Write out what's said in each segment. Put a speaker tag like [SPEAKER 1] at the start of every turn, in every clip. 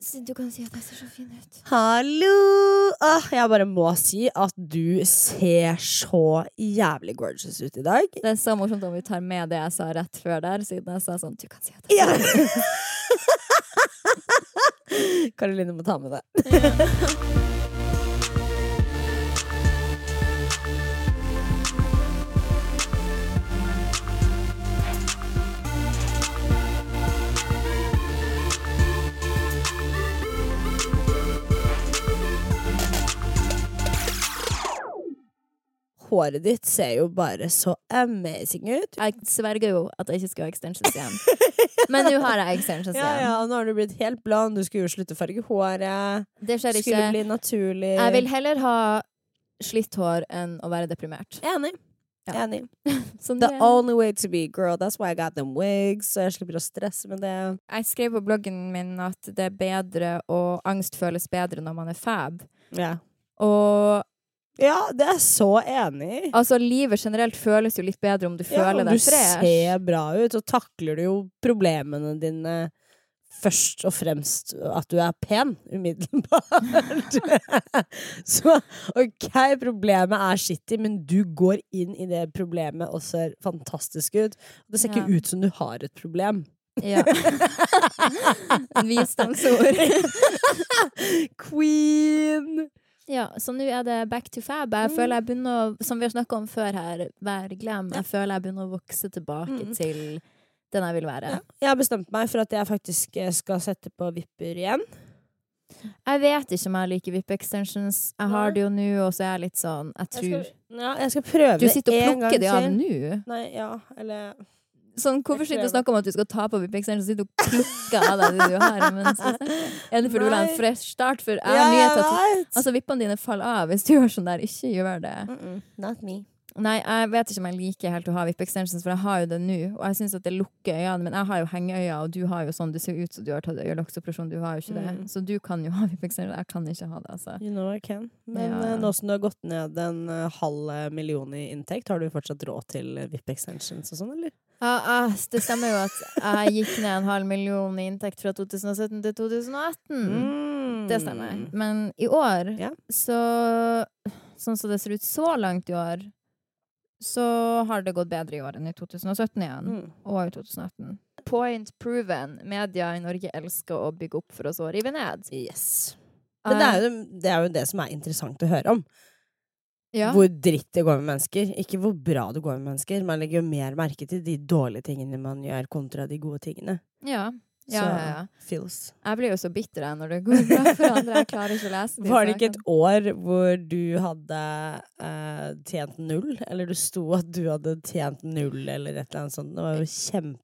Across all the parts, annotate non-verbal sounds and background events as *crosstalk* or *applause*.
[SPEAKER 1] Så Du kan si at jeg ser så fin ut.
[SPEAKER 2] Hallo! Åh, jeg bare må si at du ser så jævlig gorgeous ut i dag.
[SPEAKER 1] Det er så morsomt om vi tar med det jeg sa rett før der, siden jeg sa sånn Du kan si at
[SPEAKER 2] Ja. *laughs* Karoline må ta med det. *laughs* Håret ditt ser jo bare så amazing ut.
[SPEAKER 1] Jeg sverger jo at jeg ikke skal ha extensions igjen. *laughs* Men nå har jeg extensions
[SPEAKER 2] Ja,
[SPEAKER 1] igjen.
[SPEAKER 2] ja, og nå har du blitt helt blond. Du skulle jo slutte å farge håret.
[SPEAKER 1] Det skjer
[SPEAKER 2] Skulle
[SPEAKER 1] ikke.
[SPEAKER 2] bli naturlig.
[SPEAKER 1] Jeg vil heller ha slitt hår enn å være deprimert.
[SPEAKER 2] Enig.
[SPEAKER 1] Ja.
[SPEAKER 2] Enig.
[SPEAKER 1] Så
[SPEAKER 2] The
[SPEAKER 1] det-
[SPEAKER 2] only way to be girl. That's why I got them wigs. Så jeg slipper å stresse med det.
[SPEAKER 1] Jeg skrev på bloggen min at det er bedre og angst føles bedre når man er fab.
[SPEAKER 2] Ja,
[SPEAKER 1] Og
[SPEAKER 2] ja det er jeg så enig i.
[SPEAKER 1] altså, livet generelt føles jo litt bedre om du
[SPEAKER 2] Ja,
[SPEAKER 1] føler
[SPEAKER 2] om
[SPEAKER 1] deg
[SPEAKER 2] du
[SPEAKER 1] fresh.
[SPEAKER 2] ser bra ut, og takler du jo problemene dine først og fremst at du er pen, umiddelbart. *laughs* så ok, problemet er shitty, men du går inn i det problemet og ser fantastisk ut. Det ser ikke
[SPEAKER 1] Ja.
[SPEAKER 2] ut som du har et problem. *laughs*
[SPEAKER 1] Ja. *laughs* Visdomsord.
[SPEAKER 2] Queen!
[SPEAKER 1] ja, så nå er det back to fab. Jeg
[SPEAKER 2] Mm.
[SPEAKER 1] føler jeg begynner å, som vi har snakka om før her, være glam. Jeg føler jeg begynner å vokse tilbake
[SPEAKER 2] Mm.
[SPEAKER 1] til den jeg vil være.
[SPEAKER 2] Ja. Jeg har bestemt meg for at jeg faktisk eh, skal sette på vipper igjen.
[SPEAKER 1] Jeg vet ikke om jeg liker vippe extensions. Jeg
[SPEAKER 2] Nei.
[SPEAKER 1] har det jo nå, og så er jeg litt sånn Jeg tror
[SPEAKER 2] Jeg skal, ja, jeg skal prøve
[SPEAKER 1] Du sitter
[SPEAKER 2] det
[SPEAKER 1] og
[SPEAKER 2] en gang
[SPEAKER 1] plukker det av
[SPEAKER 2] til.
[SPEAKER 1] nå.
[SPEAKER 2] Nei, ja, eller
[SPEAKER 1] Sånn, hvorfor sitter du og snakker om at du skal ta på vippe extensions? Sitter og plukker av deg det du har. Mens, er det fordi du vil ha en
[SPEAKER 2] *laughs* Nei.
[SPEAKER 1] fresh start? For jeg
[SPEAKER 2] Ja,
[SPEAKER 1] har nyhet at
[SPEAKER 2] vet.
[SPEAKER 1] Altså, vippene dine faller av hvis du gjør sånn der. Ikke gjør det.
[SPEAKER 2] Mm -mm, not me.
[SPEAKER 1] Nei, jeg vet ikke om jeg liker helt å ha vippe extensions, for jeg har jo det nå. Og jeg syns at det lukker øynene, men jeg har jo hengeøyne, og du har jo sånn. Det ser jo ut som du har tatt øyelokksoperasjon, du har jo ikke det.
[SPEAKER 2] Mm.
[SPEAKER 1] Så du kan jo ha vippe extensions. Jeg kan ikke ha det, altså.
[SPEAKER 2] You know I can. Men
[SPEAKER 1] Ja.
[SPEAKER 2] eh, nå som du har gått ned en eh, halv million i inntekt, har du fortsatt råd til eh, VIP extensions og sånn, eller?
[SPEAKER 1] Ja, ja, det stemmer jo at jeg gikk ned en halv million i inntekt fra 2017 til 2018. Mm.
[SPEAKER 2] Mm.
[SPEAKER 1] Det stemmer. Men i år,
[SPEAKER 2] Ja.
[SPEAKER 1] så Sånn som det ser ut så langt i år, så har det gått bedre i år enn i 2017 igjen.
[SPEAKER 2] Mm.
[SPEAKER 1] og i 2018. Point proven. Media i Norge elsker å bygge opp for oss å rive ned.
[SPEAKER 2] Yes.
[SPEAKER 1] Eh.
[SPEAKER 2] Men det er, jo, det er jo det som er interessant å høre om.
[SPEAKER 1] Eh, ja.
[SPEAKER 2] Hvor dritt det går med mennesker. Ikke hvor bra det går med mennesker. Man legger jo mer merke til de dårlige tingene man gjør, kontra de gode tingene.
[SPEAKER 1] ja. Ja,
[SPEAKER 2] Så,
[SPEAKER 1] ja, ja.
[SPEAKER 2] feels.
[SPEAKER 1] Jeg blir jo så bitter jeg når det går bra for andre. Jeg klarer ikke å lese de
[SPEAKER 2] Var det ikke et
[SPEAKER 1] sakene.
[SPEAKER 2] år hvor du hadde eh, tjent null? Eller det sto at du hadde tjent null, eller et eller annet sånt. Det var jo kjempe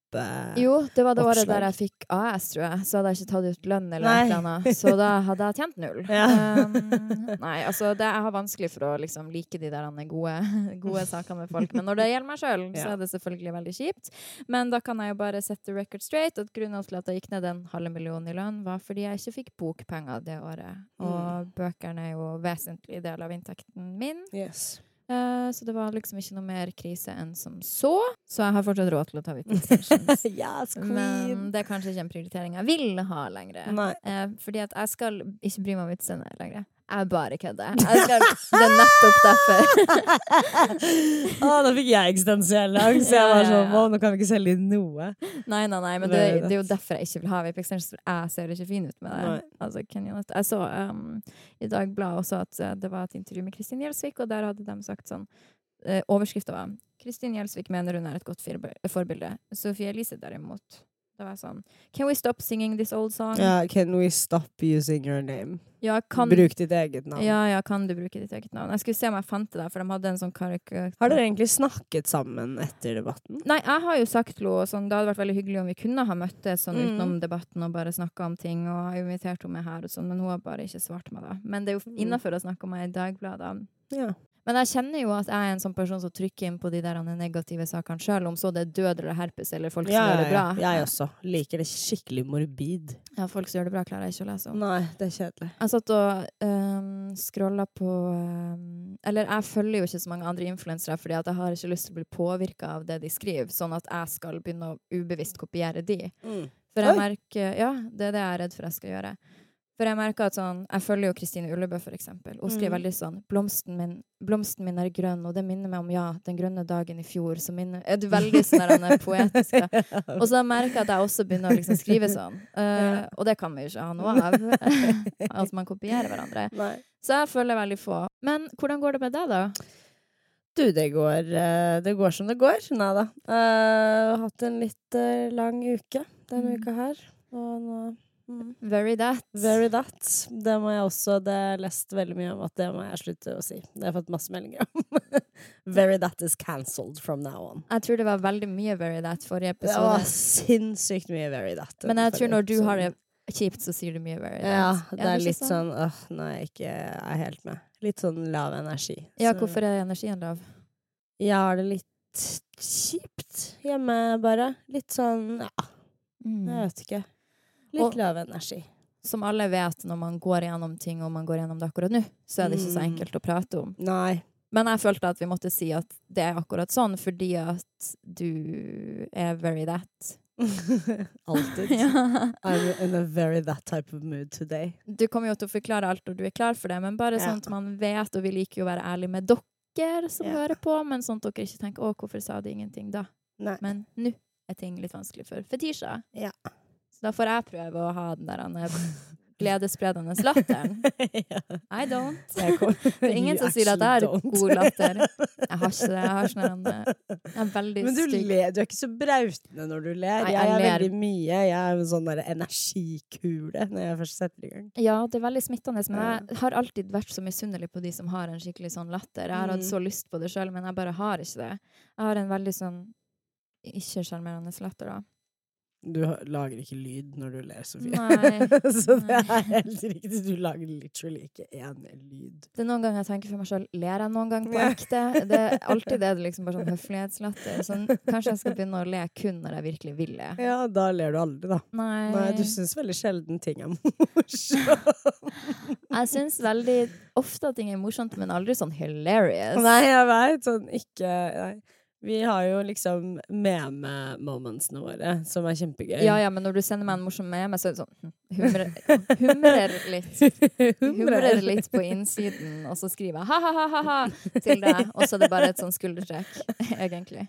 [SPEAKER 1] Jo, det var det året
[SPEAKER 2] oppslag?
[SPEAKER 1] der jeg fikk AS, tror jeg. Så hadde jeg ikke tatt ut lønn eller
[SPEAKER 2] Nei.
[SPEAKER 1] noe annet. Så da hadde jeg tjent null.
[SPEAKER 2] *laughs* Ja.
[SPEAKER 1] Um, nei, altså det, jeg har vanskelig for å liksom like de der andre gode, *laughs* gode sakene med folk. Men når det gjelder meg
[SPEAKER 2] *laughs*
[SPEAKER 1] sjøl, så
[SPEAKER 2] Ja.
[SPEAKER 1] er det selvfølgelig veldig kjipt. Men da kan jeg jo bare sette record straight at grunnen til at jeg gikk ned en halv million i lønn, var fordi jeg ikke fikk bokpenger det året.
[SPEAKER 2] Mm.
[SPEAKER 1] Og bøkene er jo vesentlig del av inntekten min.
[SPEAKER 2] Yes.
[SPEAKER 1] Eh, så det var liksom ikke noe mer krise enn som så. Så jeg har fortsatt råd til å ta
[SPEAKER 2] *laughs*
[SPEAKER 1] VIP-sessions.
[SPEAKER 2] yes, queen!
[SPEAKER 1] Men det er kanskje ikke en prioritering jeg vil ha lenger.
[SPEAKER 2] Nei.
[SPEAKER 1] Eh, fordi at jeg skal ikke bry meg om utseendet lenger. Jeg bare kødder. Jeg skal, det er nettopp *laughs* derfor.
[SPEAKER 2] Å, da fikk jeg eksistensiell angst. Jeg
[SPEAKER 1] Ja,
[SPEAKER 2] var
[SPEAKER 1] ja,
[SPEAKER 2] sånn
[SPEAKER 1] ja.
[SPEAKER 2] Wow, nå kan vi ikke selge inn noe.
[SPEAKER 1] Nei, nei, nei, men det,
[SPEAKER 2] Nei,
[SPEAKER 1] det er jo derfor jeg ikke vil ha vape extensions. for Jeg ser ikke fin ut med det.
[SPEAKER 2] Nei.
[SPEAKER 1] Altså, can you not? Jeg så um, i Dagbladet også at eh, det var et intervju med Kristin Gjelsvik, og der hadde de sagt sånn uh, Overskrifta var 'Kristin Gjelsvik mener hun er et godt firbe- forbilde'. Sophie Elise derimot. Da var jeg sånn 'Can we stop singing this old song?' Ja,
[SPEAKER 2] Ja, can we stop using your name?
[SPEAKER 1] kan
[SPEAKER 2] Bruk ditt eget navn.
[SPEAKER 1] Ja, ja, kan du bruke ditt eget navn? Jeg skulle se om jeg fant det der, for de hadde en sånn karikatur.
[SPEAKER 2] Har dere egentlig snakket sammen etter debatten?
[SPEAKER 1] Nei, jeg har jo sagt til henne sånn, det hadde vært veldig hyggelig om vi kunne ha møttes sånn
[SPEAKER 2] Mm.
[SPEAKER 1] utenom debatten og bare snakka om ting, og jeg har jo invitert henne med her og sånn, men hun har bare ikke svart meg da. Men det er jo
[SPEAKER 2] Mm.
[SPEAKER 1] innafor å snakke om meg i Dagbladet.
[SPEAKER 2] Ja.
[SPEAKER 1] Men jeg kjenner jo at jeg er en sånn person som trykker inn på de der negative sakene sjøl, om så det er død eller herpes eller folk som
[SPEAKER 2] Ja,
[SPEAKER 1] gjør
[SPEAKER 2] ja,
[SPEAKER 1] det
[SPEAKER 2] ja.
[SPEAKER 1] bra.
[SPEAKER 2] Jeg også. Liker det skikkelig morbid.
[SPEAKER 1] Ja, folk som gjør det bra, klarer jeg ikke å lese om.
[SPEAKER 2] Nei, det er kjedelig.
[SPEAKER 1] Jeg satt og um, scrolla på ehm, Eller jeg følger jo ikke så mange andre influensere, fordi at jeg har ikke lyst til å bli påvirka av det de skriver, sånn at jeg skal begynne å ubevisst kopiere de. For jeg
[SPEAKER 2] Oi.
[SPEAKER 1] merker Ja, det er det jeg er redd for jeg skal gjøre. For jeg merker at sånn, jeg følger jo Kristine Ullebø, for eksempel. Hun skriver
[SPEAKER 2] Mm.
[SPEAKER 1] veldig sånn blomsten min, 'Blomsten min er grønn', og det minner meg om ja, den grønne dagen i fjor. Så minner, er det veldig sånn der, han er poetisk. da.
[SPEAKER 2] Mm. *laughs*
[SPEAKER 1] Og så merker jeg at jeg også begynner å liksom skrive sånn. *laughs* Eh, Og det kan vi jo ikke ha noe *laughs* av. at man kopierer hverandre.
[SPEAKER 2] Nei.
[SPEAKER 1] Så jeg følger veldig få. Men hvordan går det med deg, da?
[SPEAKER 2] Du, det går, eh, det går som det går. Nei da. Eh, hatt en litt eh, lang uke denne
[SPEAKER 1] Mm.
[SPEAKER 2] uka her. Og nå mm.
[SPEAKER 1] Very that.
[SPEAKER 2] Very that. Det må jeg også Det har jeg lest veldig mye om at det må jeg slutte å si. Det har jeg fått masse meldinger om. *laughs* Very that is cancelled from now on.
[SPEAKER 1] Jeg tror det var veldig mye very that forrige
[SPEAKER 2] Det var
[SPEAKER 1] episode.
[SPEAKER 2] sinnssykt mye very that.
[SPEAKER 1] Men jeg sånn. tror når du
[SPEAKER 2] Så-
[SPEAKER 1] har det kjipt, så sier du mye very that.
[SPEAKER 2] Ja, det er
[SPEAKER 1] ikke
[SPEAKER 2] litt sånn åh, nei, jeg ikke er helt med. Litt sånn lav energi.
[SPEAKER 1] Ja,
[SPEAKER 2] Så-
[SPEAKER 1] hvorfor er energien lav?
[SPEAKER 2] Jeg har det litt kjipt hjemme, bare. Litt sånn ja,
[SPEAKER 1] Mm.
[SPEAKER 2] jeg vet ikke. Litt
[SPEAKER 1] Og-
[SPEAKER 2] lav energi.
[SPEAKER 1] Som alle vet, når man går gjennom ting, og man går gjennom det akkurat nå, så er det ikke så
[SPEAKER 2] Mm.
[SPEAKER 1] enkelt å prate om.
[SPEAKER 2] *laughs* Nei.
[SPEAKER 1] Men jeg følte at vi måtte si at det er akkurat sånn, fordi at du er very that.
[SPEAKER 2] Alltid.
[SPEAKER 1] Ja.
[SPEAKER 2] I'm in a very that type of mood today.
[SPEAKER 1] *laughs* Du kommer jo til å forklare alt når du er klar for det, men bare
[SPEAKER 2] Ja.
[SPEAKER 1] sånn at man vet, og vi liker jo å være ærlige med dere som
[SPEAKER 2] Ja.
[SPEAKER 1] hører på, men sånn at dere ikke tenker 'Å, hvorfor sa de ingenting da?'
[SPEAKER 2] Nei. *laughs*
[SPEAKER 1] Men nå er ting litt vanskelig for Fetisha.
[SPEAKER 2] Ja.
[SPEAKER 1] Så da får jeg prøve å ha den der han, eh, gledesspredende latteren.
[SPEAKER 2] *laughs* ja.
[SPEAKER 1] I don't.
[SPEAKER 2] Jeg kom-
[SPEAKER 1] Det er ingen
[SPEAKER 2] You
[SPEAKER 1] som sier at jeg
[SPEAKER 2] actually
[SPEAKER 1] har
[SPEAKER 2] don't.
[SPEAKER 1] god latter. Jeg har ikke det. Jeg har sånn en eh, Jeg er veldig
[SPEAKER 2] Men du,
[SPEAKER 1] stygg.
[SPEAKER 2] ler, du er ikke så brautende når du ler.
[SPEAKER 1] Nei,
[SPEAKER 2] jeg,
[SPEAKER 1] jeg
[SPEAKER 2] er
[SPEAKER 1] ler.
[SPEAKER 2] veldig mye. Jeg er en sånn der energikule når jeg først setter i gang.
[SPEAKER 1] Ja, det er veldig smittende, men jeg har alltid vært så misunnelig på de som har en skikkelig sånn latter. Jeg har hatt
[SPEAKER 2] Mm.
[SPEAKER 1] så lyst på det sjøl, men jeg bare har ikke det. Jeg har en veldig sånn ikke-sjarmerende latter, da.
[SPEAKER 2] *laughs* Du har- lager ikke lyd når du ler, Sofie.
[SPEAKER 1] Nei.
[SPEAKER 2] *laughs* så det
[SPEAKER 1] nei.
[SPEAKER 2] er helt riktig. Du lager literally ikke én lyd.
[SPEAKER 1] Det er noen ganger jeg tenker for meg sjøl Ler jeg noen gang på
[SPEAKER 2] Ja.
[SPEAKER 1] ekte? Det er
[SPEAKER 2] *laughs*
[SPEAKER 1] alltid det, det er liksom bare sånn høflighetslatter. Sånn, kanskje jeg skal begynne å le kun når jeg virkelig vil le.
[SPEAKER 2] Ja, da ler du aldri, da.
[SPEAKER 1] Nei.
[SPEAKER 2] Nei, du syns veldig sjelden ting er *laughs* morsomt.
[SPEAKER 1] Jeg syns veldig ofte at ting er morsomt, men aldri sånn hilarious.
[SPEAKER 2] Nei, jeg veit. Sånn ikke Nei. Vi har jo liksom meme-momentsene våre, som er kjempegøy.
[SPEAKER 1] Ja, ja, men når du sender meg en morsom meme, så er det sånn hm, humrer, humrer litt. Humrer litt på innsiden, og så skriver jeg ha-ha-ha-ha til deg, og så er det bare et sånn skuldertrekk, *laughs* egentlig.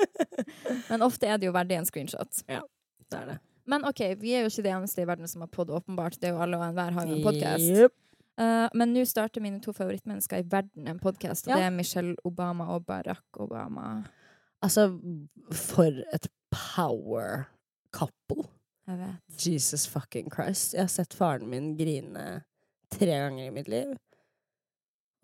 [SPEAKER 1] Men ofte er det jo verdig en screenshot.
[SPEAKER 2] Det er det.
[SPEAKER 1] Men OK, vi er jo ikke det eneste i verden som har pod, åpenbart. Det er jo alle og enhver har jo en podkast.
[SPEAKER 2] Jep.
[SPEAKER 1] men nå starter mine to favorittmennesker i verden en podkast, og
[SPEAKER 2] Ja.
[SPEAKER 1] det er Michelle Obama og Barack Obama.
[SPEAKER 2] Altså, for et power couple.
[SPEAKER 1] Jeg vet.
[SPEAKER 2] Jesus fucking Christ. Jeg har sett faren min grine tre ganger i mitt liv.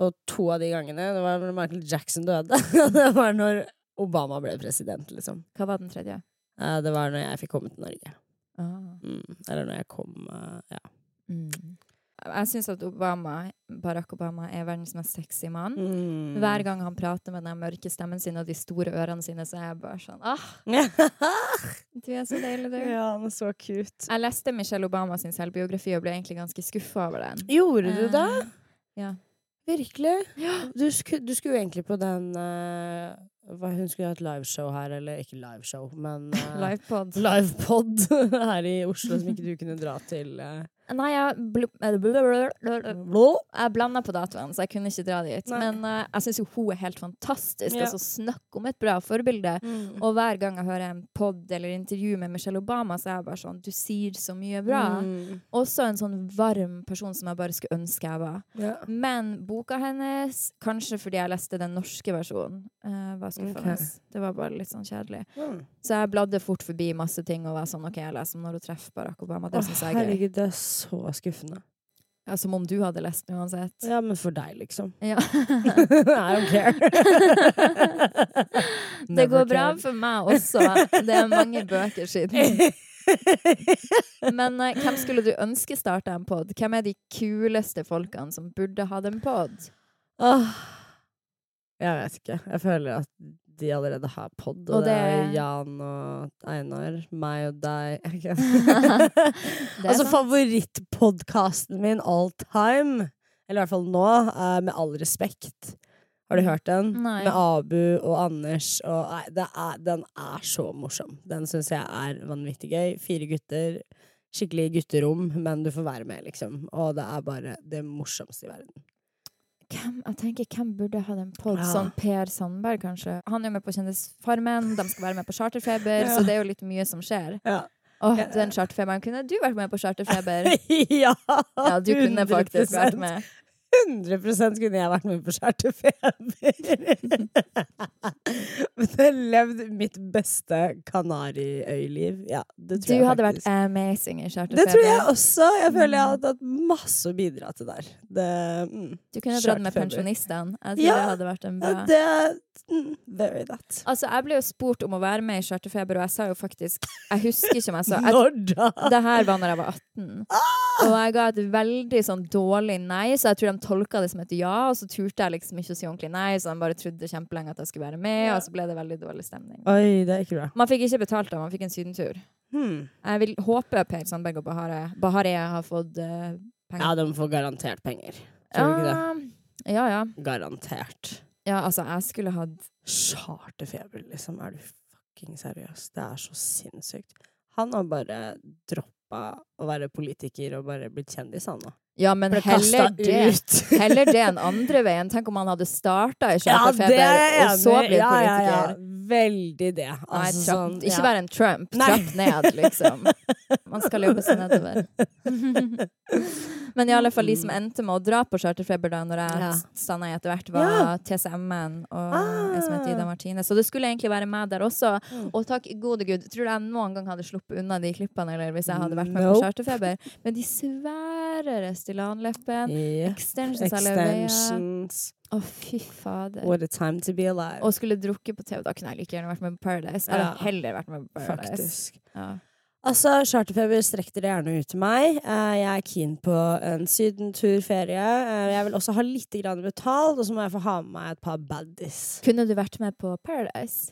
[SPEAKER 2] Og to av de gangene Det var når Michael Jackson døde. *laughs* det var når Obama ble president, liksom.
[SPEAKER 1] Hva var den tredje?
[SPEAKER 2] Eh, Det var når jeg fikk komme til Norge.
[SPEAKER 1] Ah.
[SPEAKER 2] Mm. Eller når jeg kom eh, Ja.
[SPEAKER 1] Mm. Jeg syns at Obama, Barack Obama er verdens mest sexy mann.
[SPEAKER 2] Mm. *laughs*
[SPEAKER 1] Hver gang han prater med den mørke stemmen sin og de store ørene sine, så er jeg bare sånn Ah, du er så deilig, du.
[SPEAKER 2] ja, han er så cute.
[SPEAKER 1] Jeg leste Michelle Obama sin selvbiografi og ble egentlig ganske skuffa over den.
[SPEAKER 2] Gjorde du det?
[SPEAKER 1] Eh, ja.
[SPEAKER 2] Virkelig? Du, sku, du skulle jo egentlig på den eh, hva, Hun skulle ha et liveshow her, eller ikke liveshow,
[SPEAKER 1] *laughs*
[SPEAKER 2] men eh,
[SPEAKER 1] Livepod.
[SPEAKER 2] livepod *laughs* her i Oslo som ikke du kunne dra til. eh.
[SPEAKER 1] Nei, jeg bl- eh, bl- bl- bl- bl-
[SPEAKER 2] Blå.
[SPEAKER 1] jeg blanda på datoen, så jeg kunne ikke dra dit.
[SPEAKER 2] Nei.
[SPEAKER 1] Men eh, jeg syns jo hun er helt fantastisk.
[SPEAKER 2] Ja.
[SPEAKER 1] Altså, snakk om et bra forbilde.
[SPEAKER 2] Mm.
[SPEAKER 1] Og hver gang jeg hører en pod eller intervju med Michelle Obama, så er jeg bare sånn Du sier så mye bra.
[SPEAKER 2] Mm.
[SPEAKER 1] Også en sånn varm person som jeg bare skulle ønske jeg var.
[SPEAKER 2] Ja.
[SPEAKER 1] Men boka hennes, kanskje fordi jeg leste den norske versjonen, eh, var skuffende. Det var bare litt sånn kjedelig. Så jeg bladde fort forbi masse ting og var sånn OK, jeg leser om når hun treffer Barack Obama. Det
[SPEAKER 2] Å,
[SPEAKER 1] syns jeg er gøy.
[SPEAKER 2] herregud, det er så skuffende.
[SPEAKER 1] Ja, som om du hadde lest den
[SPEAKER 2] *laughs*
[SPEAKER 1] uansett.
[SPEAKER 2] Ja, men for deg, liksom.
[SPEAKER 1] Ja.
[SPEAKER 2] *laughs* I don't care.
[SPEAKER 1] Det går bra for meg også. Det er mange bøker siden.
[SPEAKER 2] *laughs*
[SPEAKER 1] Men eh, hvem skulle du ønske starta en pod? Hvem er de kuleste folkene som burde hatt en
[SPEAKER 2] *laughs*
[SPEAKER 1] pod?
[SPEAKER 2] Åh. Jeg vet ikke. Jeg føler at de allerede har pod, og,
[SPEAKER 1] Og
[SPEAKER 2] det er
[SPEAKER 1] det-
[SPEAKER 2] Jan og Einar, meg og deg. *laughs* Jeg
[SPEAKER 1] Det
[SPEAKER 2] kødder.
[SPEAKER 1] er
[SPEAKER 2] Altså
[SPEAKER 1] sant.
[SPEAKER 2] favorittpodkasten min all time, eller i hvert fall nå, er Med all respekt. Har du hørt den?
[SPEAKER 1] Nei.
[SPEAKER 2] Med Abu og Anders. Og, nei, det er, den er så morsom. Den syns jeg er vanvittig gøy. Fire gutter skikkelig gutterom, men du får være med, liksom. Og det er bare det morsomste i verden.
[SPEAKER 1] Hvem, jeg tenker, hvem burde ha den pod?
[SPEAKER 2] Ja.
[SPEAKER 1] Sånn Per Sandberg, kanskje? Han er jo med på Kjendisfarmen, de skal være med på Charterfeber,
[SPEAKER 2] Ja.
[SPEAKER 1] så det er jo litt mye som skjer.
[SPEAKER 2] Ja.
[SPEAKER 1] Åh,
[SPEAKER 2] Ja.
[SPEAKER 1] den charterfeberen kunne du vært med på Charterfeber?
[SPEAKER 2] *laughs* ja,
[SPEAKER 1] Ja, du kunne faktisk vært
[SPEAKER 2] 100%.
[SPEAKER 1] med.
[SPEAKER 2] 100 kunne jeg vært med på Charterfeber. *laughs* Men jeg har levd mitt beste Kanariøyliv. Ja, det
[SPEAKER 1] Du
[SPEAKER 2] tror jeg
[SPEAKER 1] hadde vært
[SPEAKER 2] faktisk.
[SPEAKER 1] amazing i
[SPEAKER 2] Det tror jeg
[SPEAKER 1] Charterfeber.
[SPEAKER 2] også. Jeg føler jeg hadde hatt masse å bidra til der. Det, mm.
[SPEAKER 1] Du kunne dratt med
[SPEAKER 2] Charterfeber.
[SPEAKER 1] pensjonistene. Jeg tror
[SPEAKER 2] Ja.
[SPEAKER 1] det hadde vært en bra
[SPEAKER 2] ja, det mm, Very that.
[SPEAKER 1] Altså, jeg ble jo spurt om å være med i Charterfeber, og jeg sa jo faktisk Jeg husker ikke om jeg sa jeg,
[SPEAKER 2] Når da?
[SPEAKER 1] Det her var når jeg var 18.
[SPEAKER 2] Ah!
[SPEAKER 1] Og jeg ga et veldig sånn dårlig nei, så jeg tror de tolka det som et ja, og så turte jeg liksom ikke å si ordentlig nei, så de bare trodde kjempelenge at jeg skulle være med, og så ble det veldig dårlig stemning.
[SPEAKER 2] Oi, det er ikke bra.
[SPEAKER 1] Man fikk ikke betalt da, man fikk en sydentur.
[SPEAKER 2] Hmm.
[SPEAKER 1] Jeg vil håpe Per Sandberg og Bahare Bahare har fått eh,
[SPEAKER 2] Ja, de får garantert penger. Tror du ikke det?
[SPEAKER 1] Ja, Ah, ja, ja.
[SPEAKER 2] Garantert.
[SPEAKER 1] Ja, altså, jeg skulle hatt
[SPEAKER 2] Charterfeber, liksom. Er du fucking seriøs? Det er så sinnssykt. Han har bare droppa å være politiker og bare blitt kjendis, han nå.
[SPEAKER 1] Ja, men
[SPEAKER 2] Ble
[SPEAKER 1] heller
[SPEAKER 2] kastet
[SPEAKER 1] det
[SPEAKER 2] ut.
[SPEAKER 1] Heller det enn andre veien. Tenk om han hadde starta i
[SPEAKER 2] Ja,
[SPEAKER 1] *laughs*
[SPEAKER 2] det
[SPEAKER 1] Charterfeber,
[SPEAKER 2] er jeg
[SPEAKER 1] og så blitt
[SPEAKER 2] enig i. Ja, ja,
[SPEAKER 1] politiker.
[SPEAKER 2] ja. Veldig det.
[SPEAKER 1] Nei,
[SPEAKER 2] Altså,
[SPEAKER 1] trapp,
[SPEAKER 2] sånn,
[SPEAKER 1] ikke
[SPEAKER 2] ja.
[SPEAKER 1] vær en Trump.
[SPEAKER 2] Nei.
[SPEAKER 1] Trapp ned, liksom. Man skal jobbe seg nedover.
[SPEAKER 2] *laughs*
[SPEAKER 1] Men i alle fall de som endte med å dra på charterfeber da når jeg
[SPEAKER 2] Ja.
[SPEAKER 1] standa i etter hvert, var
[SPEAKER 2] Ja.
[SPEAKER 1] TCM-en og
[SPEAKER 2] Ah. Mm.
[SPEAKER 1] en som heter Ida Martine. Så det skulle egentlig være meg der også. Og takk gode gud, tror du jeg noen gang hadde sluppet unna de klippene eller hvis jeg hadde vært med på
[SPEAKER 2] Nope.
[SPEAKER 1] charterfeber? Men de svære Restylane-leppene,
[SPEAKER 2] Ja.
[SPEAKER 1] extensions alle veier
[SPEAKER 2] Extensions.
[SPEAKER 1] Å, fy fader.
[SPEAKER 2] What a time to be alive.
[SPEAKER 1] Og skulle drukket på TV, da kunne jeg like gjerne vært med på Paradise. Jeg hadde
[SPEAKER 2] Ja.
[SPEAKER 1] heller vært med på Paradise.
[SPEAKER 2] Faktisk.
[SPEAKER 1] Ja.
[SPEAKER 2] Altså, charterfeber strekk dere gjerne ut til meg. Eh, Jeg er keen på en sydenturferie. Eh, Jeg vil også ha litt grann betalt, og så må jeg få ha med meg et par baddies.
[SPEAKER 1] Kunne du vært med på Paradise?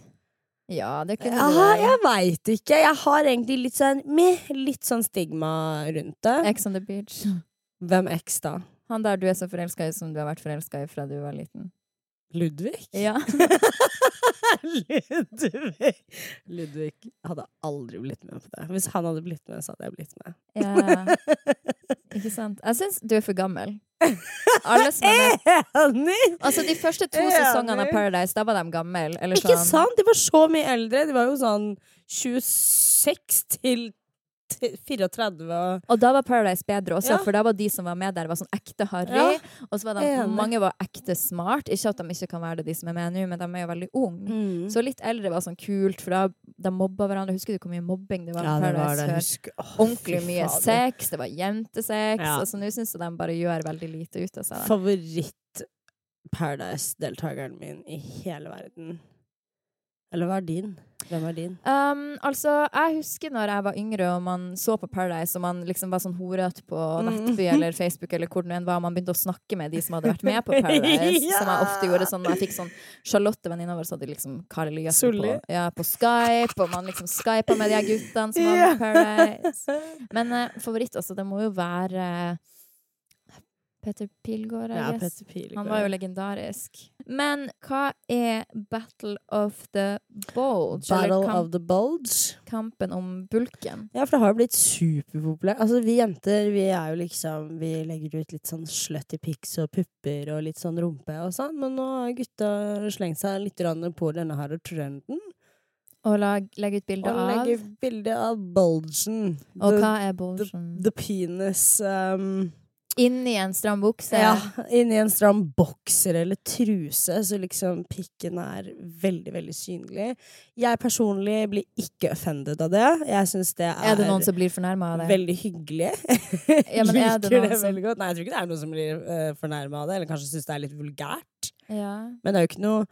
[SPEAKER 1] Ja, det kunne
[SPEAKER 2] Ja,
[SPEAKER 1] du.
[SPEAKER 2] jeg veit ikke. Jeg har egentlig litt sånn, meh, litt sånn stigma rundt det.
[SPEAKER 1] Ex on the beach.
[SPEAKER 2] Hvem X, da?
[SPEAKER 1] Han der du er så forelska i som du har vært forelska i fra du var liten.
[SPEAKER 2] Ludvig?
[SPEAKER 1] Ja.
[SPEAKER 2] *laughs* Ludvig. Ludvig hadde aldri blitt med på det. Hvis han hadde blitt med, så hadde jeg blitt med. *laughs*
[SPEAKER 1] ja. Ikke sant? Jeg syns du er for gammel. Alle som er
[SPEAKER 2] *laughs*
[SPEAKER 1] med
[SPEAKER 2] Enig!
[SPEAKER 1] Altså, de første to
[SPEAKER 2] Enig.
[SPEAKER 1] sesongene av Paradise, da var de gamle. Eller
[SPEAKER 2] Ikke
[SPEAKER 1] sånn.
[SPEAKER 2] sant? De var så mye eldre. De var jo sånn 26 til t- 34 og
[SPEAKER 1] Og da var Paradise bedre også,
[SPEAKER 2] Ja.
[SPEAKER 1] for da var de som var med der, var sånn ekte harry.
[SPEAKER 2] Ja.
[SPEAKER 1] Og så var de,
[SPEAKER 2] Enig.
[SPEAKER 1] mange var ekte smart. Ikke at de ikke kan være det, de som er med nå, men de er jo veldig unge.
[SPEAKER 2] Så
[SPEAKER 1] Så litt eldre var sånn kult, for da de mobba hverandre. Husker du hvor mye mobbing det var?
[SPEAKER 2] ja,
[SPEAKER 1] på
[SPEAKER 2] det var
[SPEAKER 1] Paradise
[SPEAKER 2] det.
[SPEAKER 1] før?
[SPEAKER 2] Husk, Åh,
[SPEAKER 1] Ordentlig
[SPEAKER 2] fy
[SPEAKER 1] mye
[SPEAKER 2] fader.
[SPEAKER 1] sex, det var jentesex.
[SPEAKER 2] Ja.
[SPEAKER 1] Og så nå syns jeg de bare gjør veldig lite ut av seg. da.
[SPEAKER 2] Favoritt Paradise-deltakeren min i hele verden. Eller hva er din? Hvem er din?
[SPEAKER 1] Um, altså, jeg husker når jeg var yngre og man så på Paradise og man liksom var sånn horete på
[SPEAKER 2] Mm.
[SPEAKER 1] Nettby eller Facebook eller hvor det nå enn var, man begynte å snakke med de som hadde vært med
[SPEAKER 2] *laughs*
[SPEAKER 1] på Paradise,
[SPEAKER 2] Ja.
[SPEAKER 1] som jeg ofte gjorde sånn når jeg fikk sånn Charlotte venninna vår, så hadde liksom Karl Eliassen på,
[SPEAKER 2] Solli.
[SPEAKER 1] ja, på Skype, og man liksom skypa med de her guttene som var
[SPEAKER 2] Ja.
[SPEAKER 1] med på Paradise. Men eh, favoritt, altså, det må jo være eh, Petter Pilgaard, I
[SPEAKER 2] Ja,
[SPEAKER 1] guess.
[SPEAKER 2] Petter Pilgaard.
[SPEAKER 1] Han var jo legendarisk. Men hva er Battle of the Bulge?
[SPEAKER 2] Battle
[SPEAKER 1] eller kamp,
[SPEAKER 2] of the Bulge.
[SPEAKER 1] kampen om bulken?
[SPEAKER 2] Ja, for det har jo blitt superpopulært. Altså, vi jenter, vi er jo liksom Vi legger ut litt sånn slutty pics og pupper og litt sånn rumpe og sånn, men nå har gutta slengt seg litt grann på denne her trenden.
[SPEAKER 1] Og lag, legge ut bilde
[SPEAKER 2] Og
[SPEAKER 1] av.
[SPEAKER 2] legger bilde av bulgen.
[SPEAKER 1] Og
[SPEAKER 2] The-
[SPEAKER 1] hva er bulgen?
[SPEAKER 2] The penis um,
[SPEAKER 1] Inni en stram bukse?
[SPEAKER 2] ja, Inni en stram bokser eller truse, så liksom pikken er veldig, veldig synlig. Jeg personlig blir ikke offended av det. Jeg syns det er
[SPEAKER 1] Er det noen som blir fornærma av det?
[SPEAKER 2] Veldig hyggelig.
[SPEAKER 1] Ja, men er det
[SPEAKER 2] Liker
[SPEAKER 1] noen
[SPEAKER 2] det
[SPEAKER 1] som-
[SPEAKER 2] veldig godt. Nei, jeg tror ikke det er noen som blir uh, fornærma av det, eller kanskje syns det er litt vulgært.
[SPEAKER 1] Ja.
[SPEAKER 2] Men det er jo ikke noe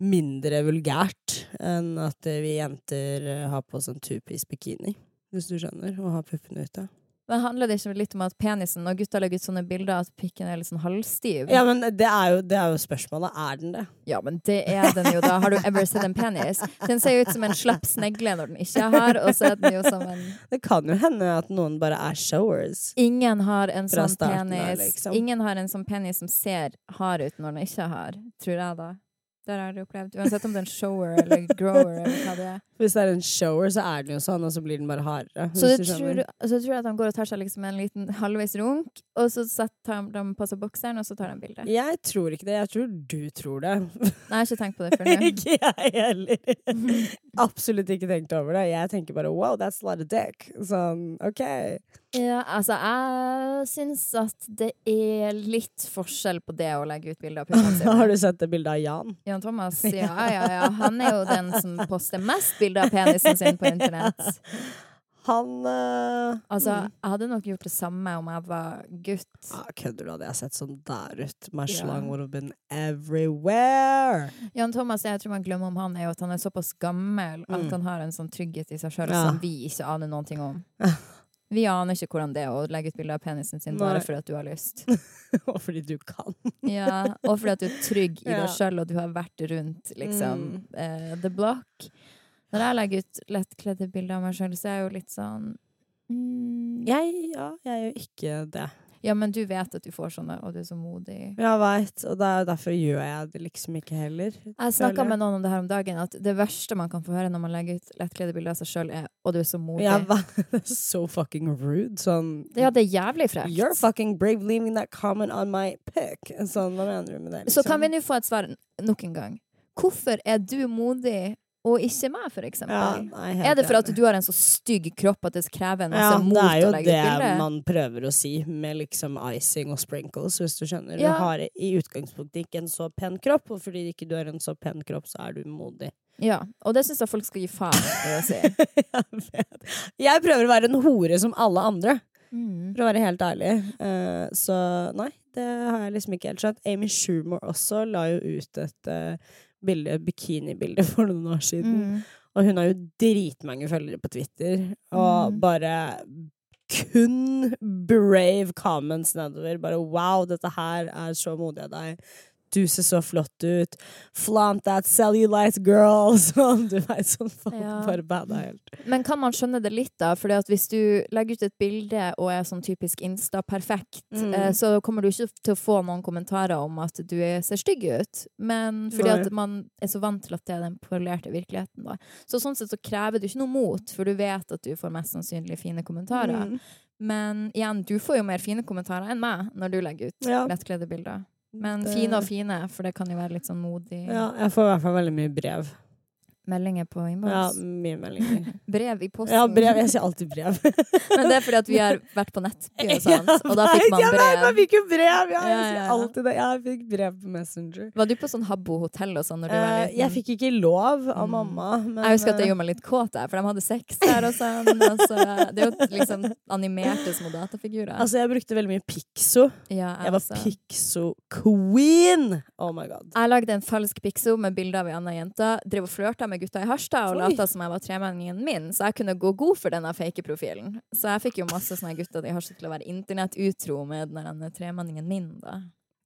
[SPEAKER 2] mindre vulgært enn at eh, vi jenter eh, har på oss en two-piece bikini, hvis du skjønner, og har puppene ute.
[SPEAKER 1] Men handler det ikke litt om at penisen Når gutta legger ut sånne bilder, at pikken er litt sånn halvstiv?
[SPEAKER 2] Ja, men det er jo, det er jo spørsmålet. Er den det?
[SPEAKER 1] Ja, men det er den jo, da. Har du ever sett en penis? Den ser jo ut som en slapp snegle når den ikke har, og så er den jo som en
[SPEAKER 2] Det kan jo hende at noen bare er showers.
[SPEAKER 1] Ingen har en
[SPEAKER 2] Fra
[SPEAKER 1] sånn
[SPEAKER 2] starten av,
[SPEAKER 1] penis
[SPEAKER 2] liksom.
[SPEAKER 1] Ingen har en sånn penis som ser hard ut når den ikke har, tror jeg da. Det har jeg aldri opplevd. Uansett om det er en shower eller grower eller hva det *laughs* er.
[SPEAKER 2] Hvis det er en shower, så er den jo sånn, og så blir den bare hardere.
[SPEAKER 1] Så
[SPEAKER 2] hvis
[SPEAKER 1] du
[SPEAKER 2] du skjønner.
[SPEAKER 1] tror, så du tror at han går og tar seg liksom en liten halvveis runk, og så setter han- de på seg bokseren, og så tar de bilde.
[SPEAKER 2] Jeg tror ikke det. Jeg tror du tror det.
[SPEAKER 1] Nei, jeg har ikke tenkt på det før nå.
[SPEAKER 2] *laughs* ikke jeg heller. *laughs* Absolutt ikke tenkt over det. Jeg tenker bare wow, that's a lot of dick. Sånn, OK.
[SPEAKER 1] *laughs* Ja, altså, jeg syns at det er litt forskjell på det å legge ut *laughs* bilder av puppene sine.
[SPEAKER 2] *laughs* Har du sett det bildet av Jan?
[SPEAKER 1] Jan Thomas, *laughs* ja, ja, ja. Han er jo den som poster mest bilder av penisen sin på internett.
[SPEAKER 2] Han eh,
[SPEAKER 1] Altså, jeg hadde nok gjort det samme om jeg var gutt.
[SPEAKER 2] ah, Kødder du? Hadde jeg sett sånn der ut? My
[SPEAKER 1] Ja.
[SPEAKER 2] slang would have been everywhere. *laughs*
[SPEAKER 1] Jan Thomas, jeg tror man glemmer om han er jo at han er såpass gammel at
[SPEAKER 2] Mm.
[SPEAKER 1] han har en sånn trygghet i seg sjøl
[SPEAKER 2] Ja.
[SPEAKER 1] som vi ikke aner noen ting
[SPEAKER 2] *laughs*
[SPEAKER 1] om. Vi aner ikke hvordan det er å legge ut bilde av penisen sin
[SPEAKER 2] Nei.
[SPEAKER 1] bare fordi at du har
[SPEAKER 2] *laughs*
[SPEAKER 1] lyst.
[SPEAKER 2] Og fordi du kan.
[SPEAKER 1] Ja, og fordi at du er trygg i
[SPEAKER 2] Ja. Mm.
[SPEAKER 1] deg sjøl, og du har vært rundt liksom eh, the block. Når jeg legger ut lettkledde bilder av meg sjøl, så er jeg jo litt sånn mm,
[SPEAKER 2] Jeg, ja, jeg gjør ikke det.
[SPEAKER 1] Ja, men du vet at du får sånne, og du er så modig.
[SPEAKER 2] Jeg veit, og det er jo derfor gjør jeg det liksom ikke heller.
[SPEAKER 1] Jeg
[SPEAKER 2] Føler
[SPEAKER 1] snakka
[SPEAKER 2] jeg.
[SPEAKER 1] med noen om det her om dagen, at det verste man kan få høre når man legger ut lettkledde bilder av seg sjøl, er 'og du er så modig'.
[SPEAKER 2] Jeg vei- *laughs* det er så fucking rude. Sånn
[SPEAKER 1] Ja, det er jævlig frekt.
[SPEAKER 2] You're fucking brave leaving that comment on my pic. Sånn, hva mener du med det? liksom?
[SPEAKER 1] Så kan vi nå få et svar nok en gang. Hvorfor er du modig og ikke meg, for eksempel?
[SPEAKER 2] nei,
[SPEAKER 1] er det for at du har en så stygg kropp at det krever en masse
[SPEAKER 2] ja,
[SPEAKER 1] mot
[SPEAKER 2] det er jo
[SPEAKER 1] å legge
[SPEAKER 2] det
[SPEAKER 1] ut bilde?
[SPEAKER 2] man prøver å si med liksom icing og sprinkles, hvis du skjønner.
[SPEAKER 1] Ja.
[SPEAKER 2] Du har i utgangspunktet ikke en så pen kropp, og fordi ikke du har en så pen kropp, så er du modig. *laughs*
[SPEAKER 1] Ja, og det syns jeg folk skal gi faen i å si.
[SPEAKER 2] jeg vet. Jeg prøver å være en hore som alle andre,
[SPEAKER 1] Mm.
[SPEAKER 2] for å være helt ærlig. Eh, så nei, det har jeg liksom ikke helt skjønt. Amy Schumer også la jo ut et eh, bilde, bikinibilde for noen år siden.
[SPEAKER 1] Mm.
[SPEAKER 2] Og hun har jo dritmange følgere på Twitter, og
[SPEAKER 1] Mm.
[SPEAKER 2] bare kun brave comments nedover. Bare wow, dette her er så modig av deg. Du ser så flott ut. Flaunt that cellulite girl! *laughs* Sånn, du veit sånn folk
[SPEAKER 1] Ja. Mm.
[SPEAKER 2] bare bada helt.
[SPEAKER 1] Men kan man skjønne det litt, da? Fordi at hvis du legger ut et bilde og er sånn typisk Insta-perfekt,
[SPEAKER 2] Mm.
[SPEAKER 1] eh, så kommer du ikke til å få noen kommentarer om at du er- ser stygg ut. Men fordi
[SPEAKER 2] Nei.
[SPEAKER 1] at man er så vant til at det er den polerte virkeligheten, da. Så sånn sett så krever du ikke noe mot, for du vet at du får mest sannsynlig fine kommentarer.
[SPEAKER 2] Mm.
[SPEAKER 1] Men igjen, du får jo mer fine kommentarer enn meg når du legger ut
[SPEAKER 2] Ja.
[SPEAKER 1] lettkledde bilder. Men
[SPEAKER 2] Det-
[SPEAKER 1] fine og fine, for det kan jo være litt sånn modig
[SPEAKER 2] Ja, jeg får i hvert fall veldig mye brev.
[SPEAKER 1] meldinger på
[SPEAKER 2] Ja,
[SPEAKER 1] innboks.
[SPEAKER 2] mye meldinger.
[SPEAKER 1] *laughs* Brev i posten.
[SPEAKER 2] Ja, brev. Jeg sier alltid brev.
[SPEAKER 1] *laughs* Men det er fordi at vi har vært på
[SPEAKER 2] *laughs*
[SPEAKER 1] nettby og
[SPEAKER 2] Ja,
[SPEAKER 1] sånt, og da fikk
[SPEAKER 2] vet
[SPEAKER 1] man
[SPEAKER 2] jeg, nei, man
[SPEAKER 1] brev.
[SPEAKER 2] fikk jo brev! Ja, jeg
[SPEAKER 1] Ja, ja,
[SPEAKER 2] sier
[SPEAKER 1] ja.
[SPEAKER 2] alltid det. Jeg fikk brev på Messenger.
[SPEAKER 1] Var du på sånn Habbo-hotell og sånn når du var
[SPEAKER 2] Eh,
[SPEAKER 1] liten?
[SPEAKER 2] jeg fikk ikke lov av
[SPEAKER 1] Mm.
[SPEAKER 2] mamma. Men,
[SPEAKER 1] Jeg husker at
[SPEAKER 2] eh,
[SPEAKER 1] det gjorde meg litt kåt, der, for de hadde sex der og sånn. Og så, det er jo liksom animerte små datafigurer.
[SPEAKER 2] Altså, jeg brukte veldig mye Pixo.
[SPEAKER 1] Ja,
[SPEAKER 2] Jeg var
[SPEAKER 1] altså.
[SPEAKER 2] Pixo-queen! Oh my god.
[SPEAKER 1] Jeg lagde en falsk pixo med bilde av ei anna jente. Drev og flørta med gutta i Harstad og
[SPEAKER 2] Oi.
[SPEAKER 1] lata som jeg var tremenningen min, så jeg kunne gå god for denne fake profilen. Så jeg fikk jo masse sånne gutter i Harstad til å være internettutro med den der tremenningen min, da.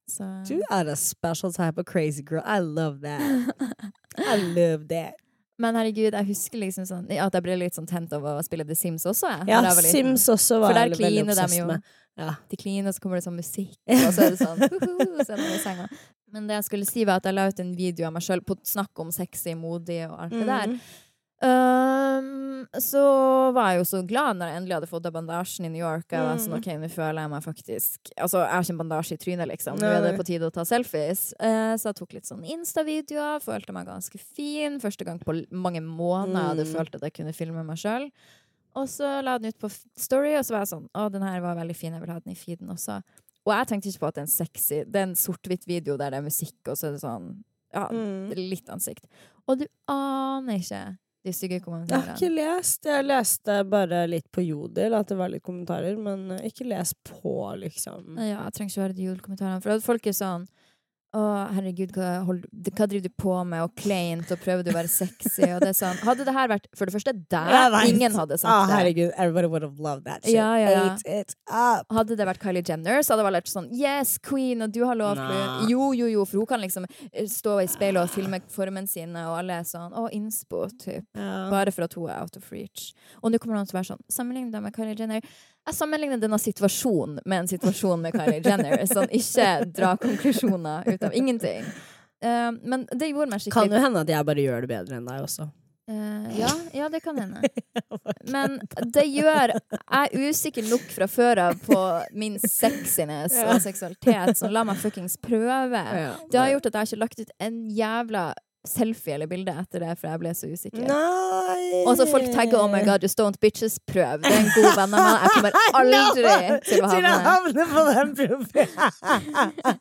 [SPEAKER 1] Så
[SPEAKER 2] Du er a special type of crazy girl. I love
[SPEAKER 1] *laughs*
[SPEAKER 2] that. I love that.
[SPEAKER 1] Men herregud, jeg husker liksom sånn ja, at jeg ble litt sånn tent av å spille The Sims også. Jeg.
[SPEAKER 2] Ja,
[SPEAKER 1] når jeg var liten.
[SPEAKER 2] Sims også
[SPEAKER 1] For
[SPEAKER 2] var
[SPEAKER 1] der
[SPEAKER 2] jeg veldig
[SPEAKER 1] kliner de
[SPEAKER 2] obsessed
[SPEAKER 1] jo.
[SPEAKER 2] med. Ja.
[SPEAKER 1] De kliner, så kommer det sånn musikk, og så er det sånn *laughs* «Huhu», så er de i senga. Men det jeg skulle si, var at jeg la ut en video av meg sjøl på snakk om sexy, modig og alt det der.
[SPEAKER 2] Mm.
[SPEAKER 1] Ehm, så var jeg jo så glad når jeg endelig hadde fått av bandasjen i New York. Jeg
[SPEAKER 2] Mm.
[SPEAKER 1] var sånn, ok, nå føler jeg meg faktisk Altså, jeg har ikke en bandasje i trynet, liksom. Nå
[SPEAKER 2] Nei,
[SPEAKER 1] er det
[SPEAKER 2] nei.
[SPEAKER 1] på tide å ta selfies. Eh, så jeg tok litt sånn Insta-videoer, følte meg ganske fin. Første gang på l- mange måneder jeg hadde
[SPEAKER 2] Mm.
[SPEAKER 1] følt at jeg kunne filme meg sjøl. Og så la jeg den ut på f- Story, og så var jeg sånn Å, den her var veldig fin, jeg vil ha den i feeden også. Og jeg tenkte ikke på at det er en sexy Det er en sort-hvitt video der det er musikk, og så er det sånn Ja,
[SPEAKER 2] Mm.
[SPEAKER 1] litt ansikt. Og du aner ikke de stygge
[SPEAKER 2] Jeg har
[SPEAKER 1] kommentarene.
[SPEAKER 2] ikke lest. Jeg leste bare litt på Jodel, at det var litt kommentarer, men eh, ikke les på, liksom.
[SPEAKER 1] Ja, jeg trenger ikke høre de julekommentarene. For at folk er sånn Å, herregud, hva, hold, hva driver du på med? Og kleint, og prøver du å være sexy? Og det er sånn Hadde det her vært For det første
[SPEAKER 2] Jeg
[SPEAKER 1] deg,
[SPEAKER 2] vet.
[SPEAKER 1] ingen hadde
[SPEAKER 2] Ah,
[SPEAKER 1] sagt det.
[SPEAKER 2] herregud, everybody would have loved that shit.
[SPEAKER 1] Ja, ja, ja.
[SPEAKER 2] Ate it up!
[SPEAKER 1] Hadde det vært Kylie Jenner, så hadde det vært sånn Yes, queen, og du har lov til
[SPEAKER 2] Nei.
[SPEAKER 1] å- Jo, jo, jo, for hun kan liksom eh, stå i speilet og filme formen sine, og alle er sånn Å, innspo, typ.
[SPEAKER 2] Ja.
[SPEAKER 1] Bare for at hun er out of reach. Og nå kommer noen til å være sånn Sammenlign deg med Kylie Jenner. Jeg sammenligner denne situasjonen med en situasjon med Kylie Jenner. Sånn, ikke dra konklusjoner ut av ingenting. Eh, Eh, men det gjorde meg
[SPEAKER 2] Kan
[SPEAKER 1] skikkelig
[SPEAKER 2] jo hende at jeg bare gjør det bedre enn deg også.
[SPEAKER 1] Eh, ja, ja, det kan
[SPEAKER 2] *laughs*
[SPEAKER 1] hende. Men det gjør Jeg er usikker nok fra før av på min sexiness
[SPEAKER 2] Ja.
[SPEAKER 1] og seksualitet, så la meg fuckings prøve. Det har gjort at jeg ikke har lagt ut en jævla selfie eller bilde etter det, for jeg ble så usikker.
[SPEAKER 2] Nei!
[SPEAKER 1] Og så folk tagger 'Oh my God, you don't bitches'. Prøv. Det er en god venn av meg. Jeg
[SPEAKER 2] *laughs*
[SPEAKER 1] kommer aldri til å
[SPEAKER 2] Til å
[SPEAKER 1] havne
[SPEAKER 2] havne på den profilen!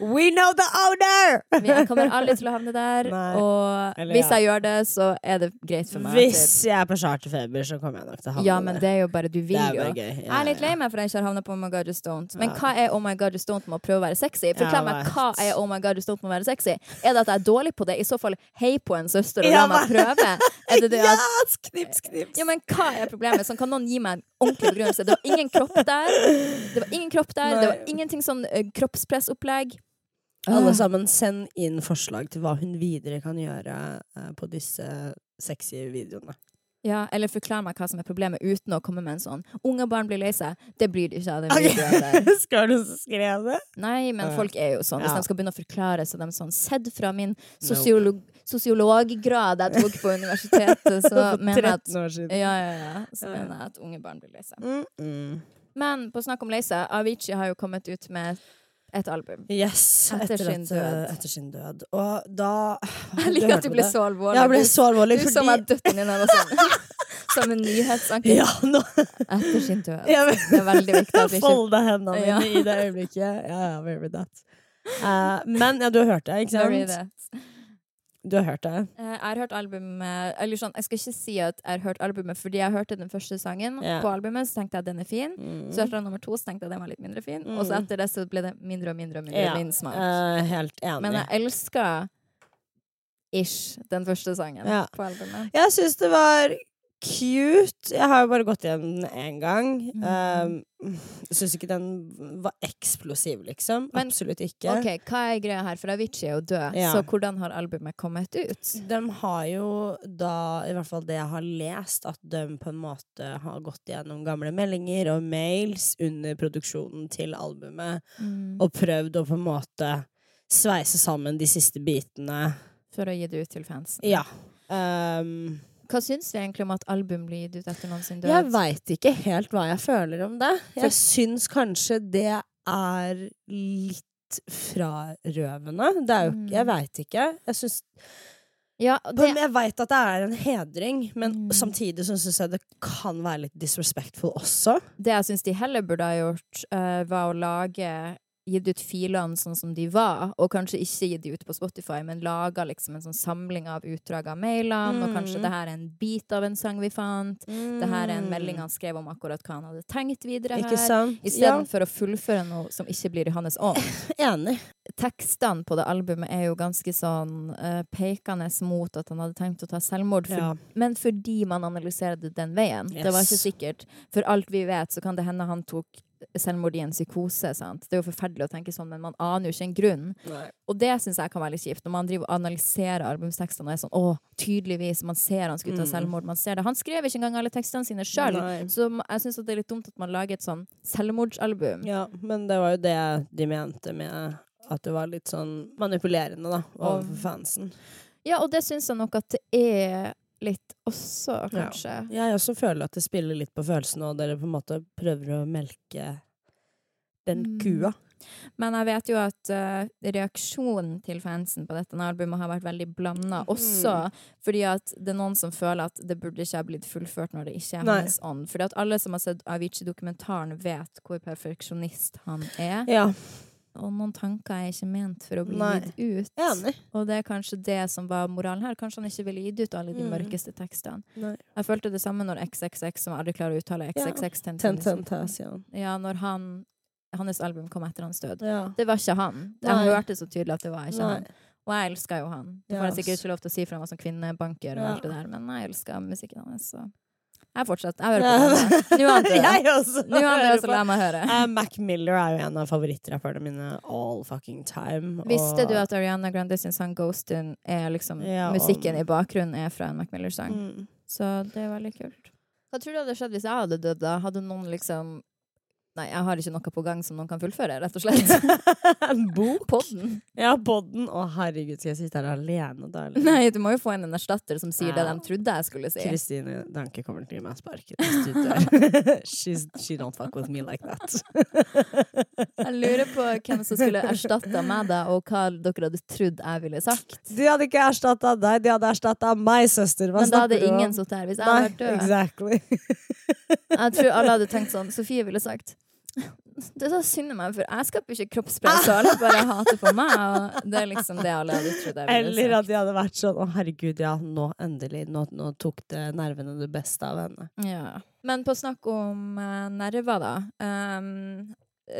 [SPEAKER 2] *laughs* We know the owner!
[SPEAKER 1] Men Jeg kommer aldri til å havne der.
[SPEAKER 2] Nei.
[SPEAKER 1] Og
[SPEAKER 2] Eller
[SPEAKER 1] hvis
[SPEAKER 2] ja.
[SPEAKER 1] jeg gjør det, så er det greit for meg.
[SPEAKER 2] Hvis jeg er på charterfeber, så kommer jeg nok til å
[SPEAKER 1] typ.
[SPEAKER 2] havne
[SPEAKER 1] Ja, men det er jo bare Du vil
[SPEAKER 2] Det er
[SPEAKER 1] jo.
[SPEAKER 2] bare gøy. Ja,
[SPEAKER 1] Jeg er litt
[SPEAKER 2] ja.
[SPEAKER 1] lei meg for at jeg ikke har havnet på Oh my god, just don't. Men
[SPEAKER 2] Ja.
[SPEAKER 1] hva er Oh my god, just don't med å prøve å være sexy? Forklar
[SPEAKER 2] Jeg
[SPEAKER 1] meg
[SPEAKER 2] vet.
[SPEAKER 1] hva er Oh my god, just don't med å være sexy? Er det at jeg er dårlig på det? I så fall, hei på en søster og la
[SPEAKER 2] Ja,
[SPEAKER 1] meg prøve. Er
[SPEAKER 2] *laughs*
[SPEAKER 1] det det
[SPEAKER 2] Ja!
[SPEAKER 1] at
[SPEAKER 2] Knips, knips!
[SPEAKER 1] ja, men Hva er problemet? Sånn, kan noen gi meg en ordentlig begrunnelse? Det var ingen kropp der. Det var ingen kropp der. Det var
[SPEAKER 2] Nei.
[SPEAKER 1] ingenting sånn eh, kroppspressopplegg.
[SPEAKER 2] Alle sammen, send inn forslag til hva hun videre kan gjøre eh, på disse sexy videoene.
[SPEAKER 1] Ja, Eller forklar meg hva som er problemet, uten å komme med en sånn 'Unge barn blir lei seg'. Det blir de ikke av den videoen der.
[SPEAKER 2] *laughs* Skal du skrive det?
[SPEAKER 1] Nei, men
[SPEAKER 2] Ja.
[SPEAKER 1] folk er jo sånn. Hvis
[SPEAKER 2] Ja.
[SPEAKER 1] de skal begynne å forklare, så er de sånn Sett fra min sosiolog sosiologgrad jeg tok på
[SPEAKER 2] *laughs*
[SPEAKER 1] universitetet, så
[SPEAKER 2] For
[SPEAKER 1] mener jeg at
[SPEAKER 2] 13 år siden.
[SPEAKER 1] ja, ja, ja. Så
[SPEAKER 2] Ja.
[SPEAKER 1] mener jeg at unge barn blir lei seg.
[SPEAKER 2] Mm -mm.
[SPEAKER 1] Men på snakk om lei seg, Avicii har jo kommet ut med et album.
[SPEAKER 2] Yes,
[SPEAKER 1] Etter
[SPEAKER 2] etter,
[SPEAKER 1] sin
[SPEAKER 2] at,
[SPEAKER 1] død.
[SPEAKER 2] eh, etter sin død. Og da
[SPEAKER 1] Jeg liker at du ble så alvorlig.
[SPEAKER 2] Jeg ble så
[SPEAKER 1] du
[SPEAKER 2] alvorlig,
[SPEAKER 1] du som er
[SPEAKER 2] fordi
[SPEAKER 1] døtten din eller
[SPEAKER 2] *laughs*
[SPEAKER 1] sånn. Som en nyhetsanker
[SPEAKER 2] Ja, nå
[SPEAKER 1] etter sin død.
[SPEAKER 2] Ja, men-
[SPEAKER 1] Det er veldig viktig at vi ikke
[SPEAKER 2] folda hendene mine
[SPEAKER 1] Ja.
[SPEAKER 2] i det øyeblikket. Ja, ja, very that. Eh, men ja, du har hørt det, ikke
[SPEAKER 1] Sorry,
[SPEAKER 2] sant?
[SPEAKER 1] det.
[SPEAKER 2] Du har hørt det.
[SPEAKER 1] Eh, Jeg har hørt albumet Eller sånn, jeg skal ikke si at jeg har hørt albumet, fordi jeg hørte den første sangen
[SPEAKER 2] Ja.
[SPEAKER 1] på albumet, så tenkte jeg den er fin.
[SPEAKER 2] Mm.
[SPEAKER 1] Så hørte jeg nummer to, så tenkte jeg den var litt mindre fin.
[SPEAKER 2] Mm.
[SPEAKER 1] Og så etter det så ble det mindre og mindre og mindre
[SPEAKER 2] Ja,
[SPEAKER 1] min smak.
[SPEAKER 2] eh, helt enig.
[SPEAKER 1] Men jeg elska ish den første sangen
[SPEAKER 2] Ja.
[SPEAKER 1] på albumet.
[SPEAKER 2] Jeg syns det var cute. Jeg har jo bare gått igjen den én gang.
[SPEAKER 1] Mm.
[SPEAKER 2] Um, syns ikke den var eksplosiv, liksom.
[SPEAKER 1] Men-
[SPEAKER 2] Absolutt ikke.
[SPEAKER 1] Ok, Hva er greia her? For Avicii er jo død,
[SPEAKER 2] Ja.
[SPEAKER 1] så hvordan har albumet kommet ut?
[SPEAKER 2] De har jo da, i hvert fall det jeg har lest, at de på en måte har gått gjennom gamle meldinger og mails under produksjonen til albumet, og prøvd å på en måte sveise sammen de siste bitene.
[SPEAKER 1] For å gi det ut til fansen.
[SPEAKER 2] Ja. Um,
[SPEAKER 1] Hva syns vi egentlig om at album blir gitt ut etter noen sin død?
[SPEAKER 2] jeg veit ikke helt hva jeg føler om det. Jeg syns kanskje det er litt frarøvende. Det er jo ikke Jeg veit ikke. Jeg syns
[SPEAKER 1] ja,
[SPEAKER 2] På-
[SPEAKER 1] det,
[SPEAKER 2] men Jeg veit at det er en hedring, men
[SPEAKER 1] Mm.
[SPEAKER 2] samtidig så syns jeg det kan være litt disrespectful også.
[SPEAKER 1] Det jeg syns de heller burde ha gjort, eh, var å lage Gitt ut filene sånn som de var, og kanskje ikke gitt de ut på Spotify, men laga liksom en sånn samling av utdrag av mailene, og kanskje
[SPEAKER 2] Mm.
[SPEAKER 1] det her er en bit av en sang vi fant, Mm. det her er en melding han skrev om akkurat hva han hadde tenkt videre
[SPEAKER 2] Ikke
[SPEAKER 1] her,
[SPEAKER 2] sant? Ja,
[SPEAKER 1] istedenfor for å fullføre noe som ikke blir i hans ånd.
[SPEAKER 2] *laughs* enig.
[SPEAKER 1] Tekstene på det albumet er jo ganske sånn eh, pekende mot at han hadde tenkt å ta selvmord, for
[SPEAKER 2] Ja.
[SPEAKER 1] men fordi man analyserer det den veien. Det var ikke
[SPEAKER 2] Yes.
[SPEAKER 1] sikkert. For alt vi vet, så kan det hende han tok selvmord i en psykose. Sant? Det er jo forferdelig å tenke sånn, men man aner jo ikke en grunn. Og det syns jeg kan være litt kjipt, når man driver og analyserer albumtekstene og er sånn Å, tydeligvis! Man ser han skulle ta selvmord. Man ser det. Han skrev ikke engang alle tekstene sine sjøl.
[SPEAKER 2] Mm. Nei.
[SPEAKER 1] Så m- jeg syns det er litt dumt at man lager et sånn selvmordsalbum.
[SPEAKER 2] Ja, men det var jo det de mente med at det var litt sånn manipulerende, da, overfor fansen.
[SPEAKER 1] Ja, og det syns jeg nok at det er litt også,
[SPEAKER 2] Ja.
[SPEAKER 1] kanskje.
[SPEAKER 2] Jeg også føler at det spiller litt på følelsene, og dere på en måte prøver å melke den
[SPEAKER 1] Mm.
[SPEAKER 2] kua.
[SPEAKER 1] Men jeg vet jo at eh, reaksjonen til fansen på dette albumet har vært veldig blanda
[SPEAKER 2] Mhm.
[SPEAKER 1] også. Fordi at det er noen som føler at det burde ikke ha blitt fullført når det ikke er
[SPEAKER 2] Nei.
[SPEAKER 1] hans ånd. Fordi at alle som har sett Avicii-dokumentaren, vet hvor perfeksjonist han er.
[SPEAKER 2] Ja,
[SPEAKER 1] Og noen tanker er ikke ment for å bli
[SPEAKER 2] Nei.
[SPEAKER 1] gitt ut.
[SPEAKER 2] enig.
[SPEAKER 1] Og det er kanskje det som var moralen her. Kanskje han ikke ville gitt ut alle de
[SPEAKER 2] Mm.
[SPEAKER 1] mørkeste tekstene.
[SPEAKER 2] Nei.
[SPEAKER 1] Jeg følte det samme når XXX, som jeg aldri klarer å uttale
[SPEAKER 2] Ja.
[SPEAKER 1] XXX
[SPEAKER 2] Tententasian.
[SPEAKER 1] Ja, når han, hans album kom etter hans død.
[SPEAKER 2] Ja.
[SPEAKER 1] Det var ikke han. Jeg
[SPEAKER 2] Nei.
[SPEAKER 1] hørte så tydelig at det var ikke han. Og jeg elska jo han. Det
[SPEAKER 2] Ja,
[SPEAKER 1] får jeg sikkert
[SPEAKER 2] ass.
[SPEAKER 1] ikke lov til å si, for han var sånn kvinnebanker og
[SPEAKER 2] Ja.
[SPEAKER 1] alt det der, men jeg elska musikken hans, så jeg fortsetter. Jeg hører på den. *laughs* Nå er han død.
[SPEAKER 2] *laughs* Jeg også.
[SPEAKER 1] Nå er han død,
[SPEAKER 2] hører
[SPEAKER 1] så
[SPEAKER 2] på.
[SPEAKER 1] la meg høre.
[SPEAKER 2] Eh, Mac Miller er jo en av favorittrapperne mine all fucking time. og-
[SPEAKER 1] Visste du at Ariana Grande sin sang 'Ghostin' er liksom
[SPEAKER 2] Ja, og-
[SPEAKER 1] Musikken i bakgrunnen er fra en Mac Miller-sang.
[SPEAKER 2] Mm. *laughs*
[SPEAKER 1] Så det er veldig kult. Hva tror du hadde skjedd hvis jeg hadde dødd, da? Hadde noen liksom Nei, jeg har ikke noe på gang som noen kan fullføre, rett og *laughs* slett.
[SPEAKER 2] En bok?
[SPEAKER 1] Podden.
[SPEAKER 2] Ja, podden. Å, herregud, skal jeg sitte her alene da? eller?
[SPEAKER 1] Nei, du må jo få inn en erstatter som sier det
[SPEAKER 2] Ja.
[SPEAKER 1] de trodde jeg skulle si.
[SPEAKER 2] Kristine Danke kommer til å gi meg sparken. hvis du dør. *laughs* She's, she don't fuck with me like that.
[SPEAKER 1] Jeg lurer på hvem som skulle erstatta meg da, og hva dere hadde trodd jeg ville sagt.
[SPEAKER 2] De hadde ikke erstatta deg, de hadde erstatta meg, søster. Hva
[SPEAKER 1] Men da hadde
[SPEAKER 2] snakker du om?
[SPEAKER 1] ingen sittet her hvis jeg
[SPEAKER 2] Nei,
[SPEAKER 1] hadde vært død.
[SPEAKER 2] exactly.
[SPEAKER 1] Jeg tror alle hadde tenkt sånn. Sofie ville sagt det er så synd om meg, for jeg skaper ikke kroppspress, så alle bare hater på meg. Og det er liksom det alle hadde trodd jeg ville
[SPEAKER 2] Eller
[SPEAKER 1] sagt.
[SPEAKER 2] at de hadde vært sånn Å, herregud, ja, nå endelig. Nå, nå tok det nervene det beste av henne.
[SPEAKER 1] Ja. Men på snakk om eh, nerver, da. Ehm,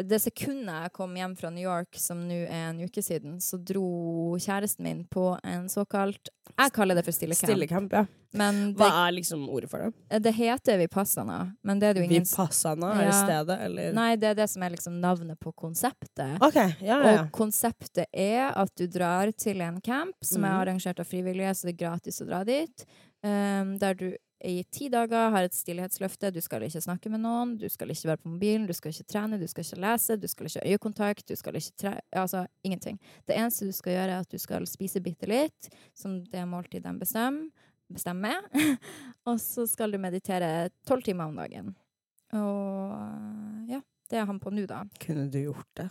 [SPEAKER 1] det sekundet jeg kom hjem fra New York, som nå er en uke siden, så dro kjæresten min på en såkalt Jeg kaller det for stillecam.
[SPEAKER 2] Stillekamp, ja.
[SPEAKER 1] Men det,
[SPEAKER 2] Hva er liksom ordet for det?
[SPEAKER 1] Eh, det heter Vipassana. Men det er det jo ingen s-
[SPEAKER 2] Vipassana er
[SPEAKER 1] Ja.
[SPEAKER 2] stedet, eller?
[SPEAKER 1] Nei, det er det som er liksom navnet på konseptet.
[SPEAKER 2] OK, ja, ja. ja.
[SPEAKER 1] Og konseptet er at du drar til en camp som er
[SPEAKER 2] Mhm.
[SPEAKER 1] arrangert av frivillige, så det er gratis å dra dit. ehm, der du i ti dager har et stillhetsløfte. Du skal ikke snakke med noen, du skal ikke være på mobilen, du skal ikke trene, du skal ikke lese, du skal ikke ha øyekontakt, du skal ikke tre... Altså ingenting. Det eneste du skal gjøre, er at du skal spise bitte litt, som det måltidet de bestemmer, bestemmer. *laughs* og så skal du meditere tolv timer om dagen. Og ja, det er han på nå, da.
[SPEAKER 2] Kunne du gjort det?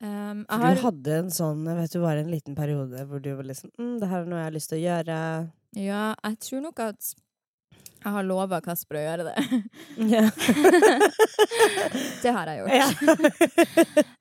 [SPEAKER 1] Ehm, jeg
[SPEAKER 2] For
[SPEAKER 1] har-
[SPEAKER 2] du hadde en sånn, jeg vet du var i en liten periode hvor du var liksom mm, 'Det her er noe jeg har lyst til å gjøre'.
[SPEAKER 1] Ja, jeg tror nok at jeg har lova Kasper å gjøre det. *laughs*
[SPEAKER 2] Ja.
[SPEAKER 1] Det har jeg gjort.
[SPEAKER 2] Ja.
[SPEAKER 1] *laughs*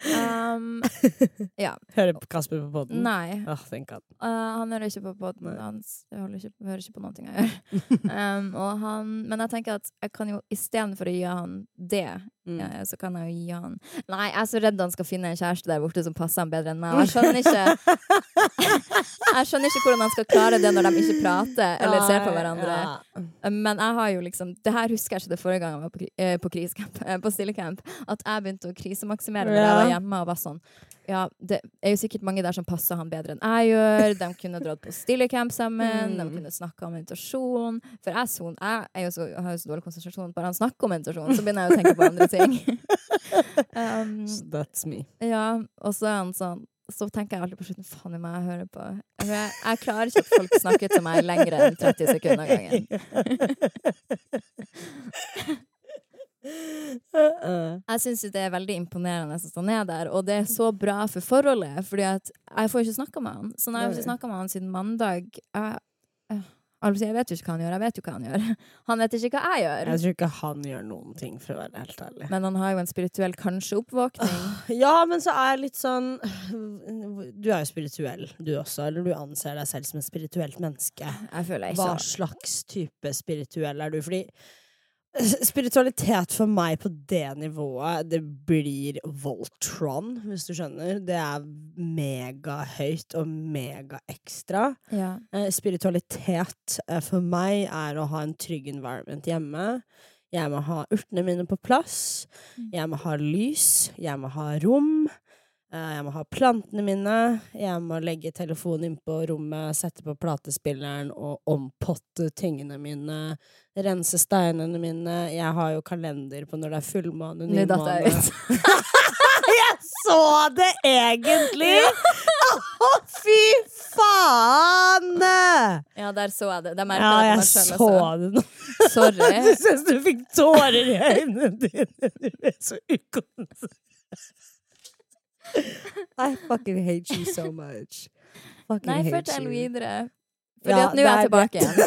[SPEAKER 1] Um,
[SPEAKER 2] *laughs* Hører på Kasper på podden?
[SPEAKER 1] nei,
[SPEAKER 2] Åh, thank god.
[SPEAKER 1] uh, han hører ikke på podden
[SPEAKER 2] Nei.
[SPEAKER 1] hans. Jeg holder ikke, hører ikke på noen ting jeg gjør.
[SPEAKER 2] *laughs*
[SPEAKER 1] Um, og han, men jeg tenker at jeg kan jo istedenfor å gi han det,
[SPEAKER 2] Mm.
[SPEAKER 1] eh, så kan jeg jo gi han Nei, jeg er så redd han skal finne en kjæreste der borte som passer han bedre enn meg. og Jeg skjønner
[SPEAKER 2] *laughs*
[SPEAKER 1] ikke *laughs* Jeg skjønner ikke hvordan han skal klare det når de ikke prater eller ser på hverandre.
[SPEAKER 2] Ja.
[SPEAKER 1] Eh, Men jeg har jo liksom Det her husker jeg ikke det forrige gang jeg var på, kri- eh, på krisecamp, eh, på stillecamp. At jeg begynte å krisemaksimere når jeg
[SPEAKER 2] Ja.
[SPEAKER 1] var hjemme og var sånn Ja, det er jo sikkert mange der som passer han bedre enn jeg gjør. De kunne dratt på stillecamp sammen. De
[SPEAKER 2] Mm.
[SPEAKER 1] kunne snakka om meditasjon. For jeg, son, jeg er jo så, har jo så dårlig konsentrasjon. Bare han snakker om meditasjon, så begynner jeg å tenke på andre ting.
[SPEAKER 2] *laughs*
[SPEAKER 1] um,
[SPEAKER 2] So That's me.
[SPEAKER 1] ja, og så er han sånn så tenker jeg alltid på slutten Faen, det må jeg høre på. Altså, Jeg, jeg klarer ikke at folk snakker til meg lenger enn 30 sekunder av gangen.
[SPEAKER 2] Uh-uh.
[SPEAKER 1] Jeg syns det er veldig imponerende at han er der, og det er så bra for forholdet. Fordi at jeg får ikke snakka med han. Så når jeg har ikke snakka med han siden mandag jeg, øh, altså, jeg vet jo ikke hva han gjør. Jeg vet jo hva han gjør. *laughs* Han vet ikke hva jeg gjør.
[SPEAKER 2] Jeg tror ikke han gjør noen ting, for å være helt ærlig.
[SPEAKER 1] Men han har jo en spirituell kanskje-oppvåkning.
[SPEAKER 2] *laughs* Ja, men så er jeg litt sånn Du er jo spirituell, du også. Eller du anser deg selv som et spirituelt menneske.
[SPEAKER 1] Jeg føler jeg
[SPEAKER 2] Hva
[SPEAKER 1] ikke
[SPEAKER 2] slags type spirituell er du? Fordi eh, spiritualitet for meg på det nivået, det blir Voltron, hvis du skjønner. Det er megahøyt og megaekstra.
[SPEAKER 1] ja.
[SPEAKER 2] Eh, Spiritualitet eh, for meg er å ha en trygg environment hjemme. Jeg må ha urtene mine på plass.
[SPEAKER 1] Mm.
[SPEAKER 2] Jeg må ha lys. Jeg må ha rom. Eh, Jeg må ha plantene mine. Jeg må legge telefonen inn på rommet, sette på platespilleren og ompotte tingene mine. Rense steinene mine. Jeg har jo kalender på når det er fullmåne,
[SPEAKER 1] Nå datt jeg
[SPEAKER 2] nymåne.
[SPEAKER 1] ut.
[SPEAKER 2] *laughs*
[SPEAKER 1] *laughs*
[SPEAKER 2] Jeg så det
[SPEAKER 1] *laughs*
[SPEAKER 2] egentlig! Å, fy faen!
[SPEAKER 1] Ja, der så jeg det. Det merka
[SPEAKER 2] Ja,
[SPEAKER 1] jeg
[SPEAKER 2] jeg
[SPEAKER 1] på meg sjøl
[SPEAKER 2] så
[SPEAKER 1] også.
[SPEAKER 2] det nå. *laughs* Du
[SPEAKER 1] Sorry.
[SPEAKER 2] synes du fikk tårer i øynene dine. Du er så ukonsentrert. I fucking hate you so much. Fucking
[SPEAKER 1] Nei,
[SPEAKER 2] hate
[SPEAKER 1] fortell
[SPEAKER 2] you.
[SPEAKER 1] videre. Fordi
[SPEAKER 2] Ja,
[SPEAKER 1] at nå er jeg
[SPEAKER 2] det er
[SPEAKER 1] tilbake igjen. *laughs*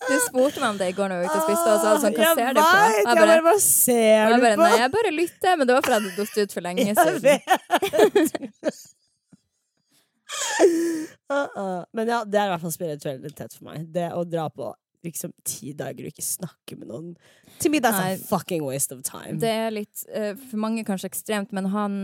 [SPEAKER 1] Du spurte meg om det i går når vi var ute og spiste, og sa sånn,
[SPEAKER 2] *laughs*
[SPEAKER 1] hva ser du på?
[SPEAKER 2] Jeg
[SPEAKER 1] Jeg
[SPEAKER 2] vet,
[SPEAKER 1] bare-
[SPEAKER 2] jeg bare, hva ser
[SPEAKER 1] Og jeg
[SPEAKER 2] du
[SPEAKER 1] bare,
[SPEAKER 2] på?
[SPEAKER 1] nei, jeg bare lytter, men det var fordi jeg hadde datt ut for *laughs* lenge
[SPEAKER 2] Jeg
[SPEAKER 1] siden.
[SPEAKER 2] *laughs* Uh-uh. Men ja, det er i hvert fall spiritualitet for meg. Det å dra på liksom ti dager og ikke snakke med noen. To me that's
[SPEAKER 1] Nei.
[SPEAKER 2] a sånn fucking waste of time.
[SPEAKER 1] Det er litt, eh, for mange kanskje ekstremt, men han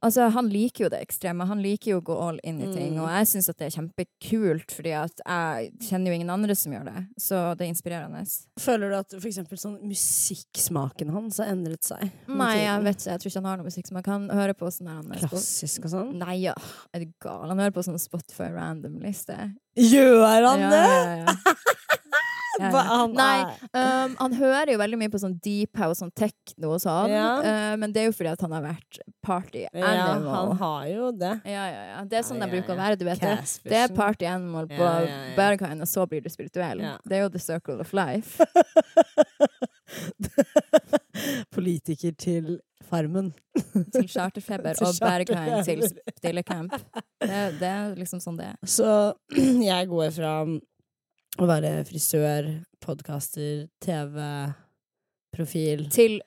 [SPEAKER 1] Altså, han liker jo det ekstreme. Han liker jo å gå all in i ting, og jeg syns at det er kjempekult, fordi at jeg kjenner jo ingen andre som gjør det, så det er inspirerende.
[SPEAKER 2] Føler du at for eksempel sånn musikksmaken hans har endret seg? med
[SPEAKER 1] Nei, jeg
[SPEAKER 2] tiden?
[SPEAKER 1] vet ikke. Jeg tror ikke han har noe musikk som jeg kan høre på sånn der han Spotify.
[SPEAKER 2] Klassisk og sånn?
[SPEAKER 1] Nei, ja. er du gal? Han hører på sånn Spotify random-liste.
[SPEAKER 2] Gjør
[SPEAKER 1] Ja,
[SPEAKER 2] han det?!
[SPEAKER 1] ja, ja. *laughs*
[SPEAKER 2] Hva, han
[SPEAKER 1] Nei,
[SPEAKER 2] er-
[SPEAKER 1] Um, han hører jo veldig mye på sånn deep house, sånn techno og sånn,
[SPEAKER 2] Ja.
[SPEAKER 1] eh, men det er jo fordi at han har vært party
[SPEAKER 2] ja, han
[SPEAKER 1] animal.
[SPEAKER 2] har jo det.
[SPEAKER 1] Ja, ja, ja. Det er sånn
[SPEAKER 2] Ja,
[SPEAKER 1] de
[SPEAKER 2] ja,
[SPEAKER 1] bruker å
[SPEAKER 2] ja.
[SPEAKER 1] være. Du vet det.
[SPEAKER 2] Caspersen.
[SPEAKER 1] Det er party animal på
[SPEAKER 2] Ja, ja, ja.
[SPEAKER 1] Berghain, og så blir du spirituell.
[SPEAKER 2] Ja.
[SPEAKER 1] Det er jo the circle of
[SPEAKER 2] *laughs*
[SPEAKER 1] life.
[SPEAKER 2] Politiker til Farmen.
[SPEAKER 1] Til charterfeber
[SPEAKER 2] Til
[SPEAKER 1] og Berghain til
[SPEAKER 2] charterfeber.
[SPEAKER 1] stillecamp. Det, det er liksom sånn det er.
[SPEAKER 2] Så *clears throat* jeg går fra um, å være frisør, podkaster, TV-profil
[SPEAKER 1] Til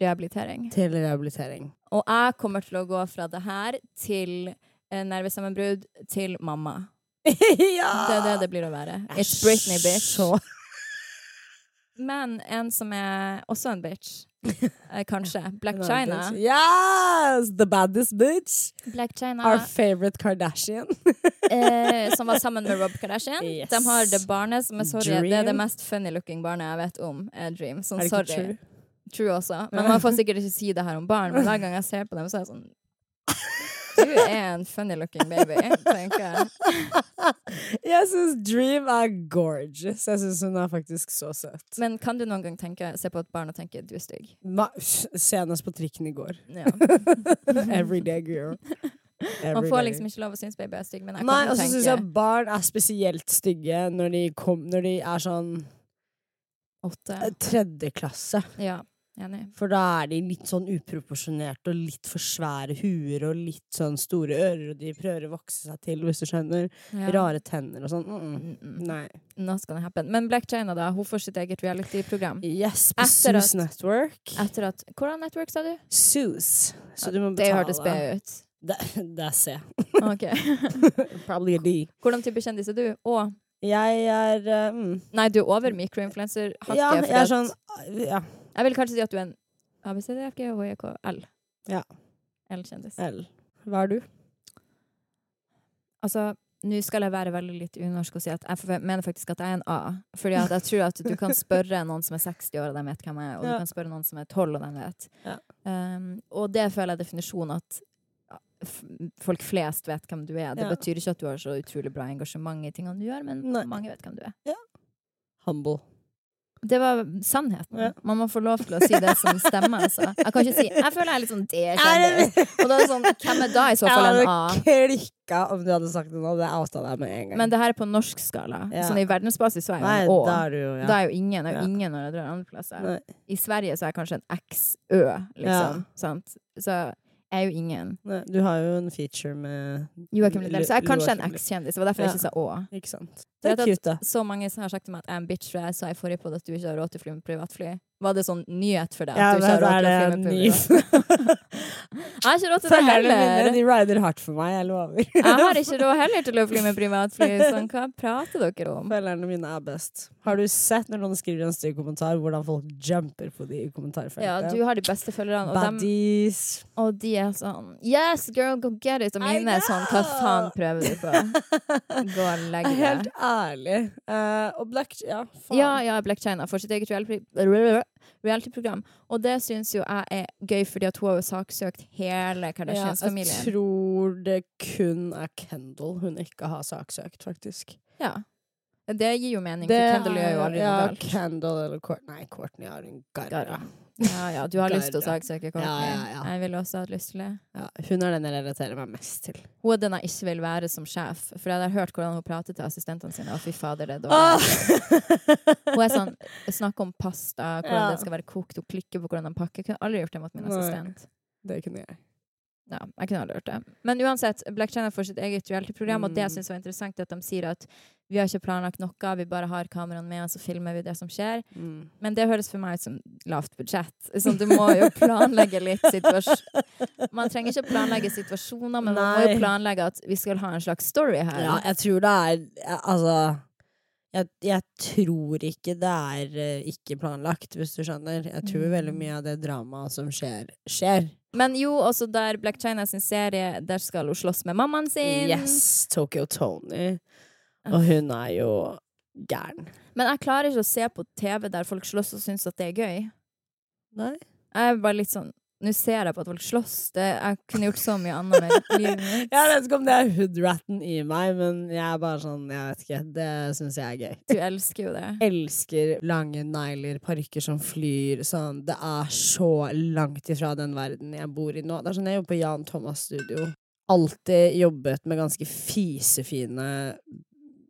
[SPEAKER 1] rehabilitering.
[SPEAKER 2] til rehabilitering.
[SPEAKER 1] Og jeg kommer til å gå fra det her til eh, nervesammenbrudd til mamma.
[SPEAKER 2] *laughs* ja!
[SPEAKER 1] Det er det det blir å være. It's
[SPEAKER 2] Jeg er
[SPEAKER 1] Britney, bitch.
[SPEAKER 2] Ah. Så
[SPEAKER 1] Men en som er også en bitch, eh, kanskje.
[SPEAKER 2] *laughs*
[SPEAKER 1] Black China.
[SPEAKER 2] Yes! The baddest bitch.
[SPEAKER 1] Black
[SPEAKER 2] Our
[SPEAKER 1] China
[SPEAKER 2] favorite Kardashian.
[SPEAKER 1] eh, som var sammen med Rob Kardashian.
[SPEAKER 2] Yes.
[SPEAKER 1] De har det barnet som er sorry, det er det
[SPEAKER 2] Dream.
[SPEAKER 1] mest funny looking barnet jeg vet om. Er Dream. Sånn,
[SPEAKER 2] Er det
[SPEAKER 1] sorry.
[SPEAKER 2] ikke true?
[SPEAKER 1] True også. Men man får sikkert ikke si det her om barn, men hver gang jeg ser på dem, så er jeg
[SPEAKER 2] *laughs*
[SPEAKER 1] sånn Du er en funny looking baby, tenker jeg.
[SPEAKER 2] Jeg syns Dream er gorgeous. Jeg syns hun er faktisk så søt.
[SPEAKER 1] Men kan du noen gang tenke, se på et barn og tenke du er stygg?
[SPEAKER 2] Ma senest på trikken i
[SPEAKER 1] *laughs*
[SPEAKER 2] går.
[SPEAKER 1] Ja.
[SPEAKER 2] Everyday girl.
[SPEAKER 1] Man
[SPEAKER 2] Everyday.
[SPEAKER 1] får liksom ikke lov å synes baby er stygg, men jeg
[SPEAKER 2] Nei,
[SPEAKER 1] kan
[SPEAKER 2] og så syns jeg
[SPEAKER 1] tenke
[SPEAKER 2] barn er spesielt stygge når de, kom, når de er sånn
[SPEAKER 1] åtte.
[SPEAKER 2] eh, tredje klasse.
[SPEAKER 1] Ja, enig.
[SPEAKER 2] For da er de litt sånn uproporsjonerte og litt for svære huer og litt sånn store ører, og de prøver å vokse seg til, hvis du skjønner.
[SPEAKER 1] Ja.
[SPEAKER 2] Rare tenner og sånn. Mm -mm.
[SPEAKER 1] Mm, mm.
[SPEAKER 2] Nei.
[SPEAKER 1] Not gonna happen. Men Black China, da, hun får sitt eget reality-program.
[SPEAKER 2] Yes, på
[SPEAKER 1] Etter at-
[SPEAKER 2] Sus Network.
[SPEAKER 1] Etter at Hvordan network sa du?
[SPEAKER 2] Sus. Så du må
[SPEAKER 1] Det
[SPEAKER 2] betale.
[SPEAKER 1] hørtes B ut.
[SPEAKER 2] Det, *laughs* det er C.
[SPEAKER 1] Ok.
[SPEAKER 2] *laughs* Probably a D.
[SPEAKER 1] Hvordan type kjendis er du? Og
[SPEAKER 2] Jeg er eh, mm.
[SPEAKER 1] Nei, du er over mikroinfluencer-hakket.
[SPEAKER 2] Ja,
[SPEAKER 1] fordi
[SPEAKER 2] jeg er
[SPEAKER 1] at-
[SPEAKER 2] sånn Ja,
[SPEAKER 1] jeg vil kanskje si at du er en ABCDFGHJKL.
[SPEAKER 2] Ja.
[SPEAKER 1] L-kjendis.
[SPEAKER 2] L. Hva er du?
[SPEAKER 1] Altså, nå skal jeg være veldig litt unorsk og si at jeg forve- mener faktisk at jeg er en A. Fordi at jeg tror at du kan
[SPEAKER 2] *laughs*
[SPEAKER 1] spørre noen som er 60 år, og de vet hvem jeg er. Og
[SPEAKER 2] Ja.
[SPEAKER 1] du kan spørre noen som er 12, og de vet.
[SPEAKER 2] Ja.
[SPEAKER 1] Um, og det føler jeg er definisjonen at ja, f- folk flest vet hvem du er. Det
[SPEAKER 2] Ja.
[SPEAKER 1] betyr ikke at du har så utrolig bra engasjement i tingene du gjør, men
[SPEAKER 2] Nei.
[SPEAKER 1] mange vet hvem du er.
[SPEAKER 2] Humble.
[SPEAKER 1] Det var sannheten.
[SPEAKER 2] Ja.
[SPEAKER 1] Man må få lov til å si det som stemmer. Altså. Jeg kan ikke si Jeg føler jeg er litt sånn
[SPEAKER 2] Er
[SPEAKER 1] D-kjendis. Og da er det sånn, hvem er da i så fall en A?
[SPEAKER 2] klikka om du hadde sagt det nå. Det outa deg med en gang.
[SPEAKER 1] Men det her er på norsk skala.
[SPEAKER 2] Ja.
[SPEAKER 1] Sånn i verdensbasis så er
[SPEAKER 2] Nei,
[SPEAKER 1] jeg jo en
[SPEAKER 2] da
[SPEAKER 1] Å.
[SPEAKER 2] er du jo ja.
[SPEAKER 1] Da er jo ingen, jeg er jo
[SPEAKER 2] Ja.
[SPEAKER 1] ingen når jeg drar andre plasser.
[SPEAKER 2] Nei.
[SPEAKER 1] I Sverige så er jeg kanskje en XØ, liksom.
[SPEAKER 2] Ja.
[SPEAKER 1] Sant? Så jeg er jo ingen.
[SPEAKER 2] Nei, du har jo en feature med
[SPEAKER 1] Joakim Lundell. Så jeg er kanskje en
[SPEAKER 2] Joakim Lundell.
[SPEAKER 1] X-kjendis. Det var derfor jeg
[SPEAKER 2] Ja.
[SPEAKER 1] ikke sa Å.
[SPEAKER 2] Ikke sant.
[SPEAKER 1] Du
[SPEAKER 2] Det
[SPEAKER 1] vet
[SPEAKER 2] er
[SPEAKER 1] at-
[SPEAKER 2] cute, da.
[SPEAKER 1] Så mange som har sagt til meg at jeg er en bitch, for jeg sa i forrige podd at du ikke har råd til å fly med privatfly. Var det sånn nyhet for deg?
[SPEAKER 2] Ja,
[SPEAKER 1] at du ikke har
[SPEAKER 2] da
[SPEAKER 1] råd til å
[SPEAKER 2] er
[SPEAKER 1] fly med
[SPEAKER 2] det
[SPEAKER 1] privatfly?
[SPEAKER 2] *laughs*
[SPEAKER 1] Jeg har ikke råd til det
[SPEAKER 2] Følgerne mine
[SPEAKER 1] heller.
[SPEAKER 2] de rider hardt for meg, jeg lover.
[SPEAKER 1] Jeg
[SPEAKER 2] *laughs*
[SPEAKER 1] har ikke råd heller til å fly med privatfly, så hva prater dere om?
[SPEAKER 2] Følgerne mine er best. Har du sett når noen skriver en stygg kommentar, hvordan folk jumper på de i kommentarfeltet?
[SPEAKER 1] Ja, du har de beste følgerne, og, dem,
[SPEAKER 2] Baddies.
[SPEAKER 1] *laughs* og de er sånn Yes, girl, go get it! Og
[SPEAKER 2] I
[SPEAKER 1] mine er sånn Hva faen prøver du på? Gå
[SPEAKER 2] *laughs*
[SPEAKER 1] og legg
[SPEAKER 2] Helt
[SPEAKER 1] deg.
[SPEAKER 2] ærlig. Eh, og Black Ja, faen.
[SPEAKER 1] Ja, ja, Black China får sitt eget reality- reality-program. Og det syns jo jeg er gøy, fordi at hun har jo saksøkt hele
[SPEAKER 2] Ja,
[SPEAKER 1] Kardashians-familien.
[SPEAKER 2] Jeg tror det kun er Kendal hun ikke har saksøkt, faktisk.
[SPEAKER 1] Ja. Det gir jo mening, for Kendal gjør jo aldri
[SPEAKER 2] ja,
[SPEAKER 1] noe galt.
[SPEAKER 2] Kendall eller Courtney. Nei, Courtney har en garra.
[SPEAKER 1] Garra. *laughs* Ja, ja, du har lyst til å
[SPEAKER 2] Garra.
[SPEAKER 1] saksøke Courtney.
[SPEAKER 2] Ja, ja, ja.
[SPEAKER 1] Jeg ville også hatt lyst til det.
[SPEAKER 2] Ja, hun er den jeg relaterer meg mest til.
[SPEAKER 1] Hun er den jeg ikke vil være som sjef, for jeg har hørt hvordan hun prater til assistentene sine. Og fy fader, det er
[SPEAKER 2] Ah!
[SPEAKER 1] dårlig. Hun er sånn, snakker om
[SPEAKER 2] *laughs*
[SPEAKER 1] pasta, hvordan
[SPEAKER 2] Ja.
[SPEAKER 1] det skal være kokt, hun klikker på hvordan den pakker. Jeg kunne aldri gjort det mot min
[SPEAKER 2] Nei.
[SPEAKER 1] assistent.
[SPEAKER 2] *laughs* det kunne jeg.
[SPEAKER 1] Ja, jeg kunne aldri gjort det. Men uansett, Black China får sitt eget reality-program, og det
[SPEAKER 2] Mm.
[SPEAKER 1] jeg syns var interessant, er at de sier at vi har ikke planlagt noe, vi bare har kameraene med, og så filmer vi det som skjer.
[SPEAKER 2] Mm.
[SPEAKER 1] Men det høres for meg ut som lavt budsjett. *laughs* Sånn, du må jo planlegge litt situasjon. Man trenger ikke planlegge situasjoner, men man må
[SPEAKER 2] Nei.
[SPEAKER 1] jo planlegge at vi skal ha en slags story her.
[SPEAKER 2] Ja, jeg tror det er Altså jeg, jeg tror ikke det er eh, ikke planlagt, hvis du skjønner. Jeg
[SPEAKER 1] Mm.
[SPEAKER 2] tror veldig mye av det dramaet som skjer, skjer.
[SPEAKER 1] Men jo, også der Black China sin serie, der skal hun slåss med mammaen sin.
[SPEAKER 2] Yes, Tokyo Tony. Og hun er jo gæren.
[SPEAKER 1] Men jeg klarer ikke å se på TV der folk slåss og syns at det er gøy. *laughs*
[SPEAKER 2] Nei?
[SPEAKER 1] Jeg er bare litt sånn Nå ser jeg på at folk slåss. Det, jeg kunne gjort så mye annet med
[SPEAKER 2] *laughs*
[SPEAKER 1] livet mitt.
[SPEAKER 2] Jeg vet ikke om det er hoodratten i meg, men jeg er bare sånn, jeg vet ikke. Det syns jeg er gøy.
[SPEAKER 1] Du elsker jo det.
[SPEAKER 2] Elsker lange negler, parykker som flyr, sånn. Det er så langt ifra den verden jeg bor i nå. Det er sånn, jeg jobber på Jan Thomas Studio. Alltid jobbet med ganske fisefine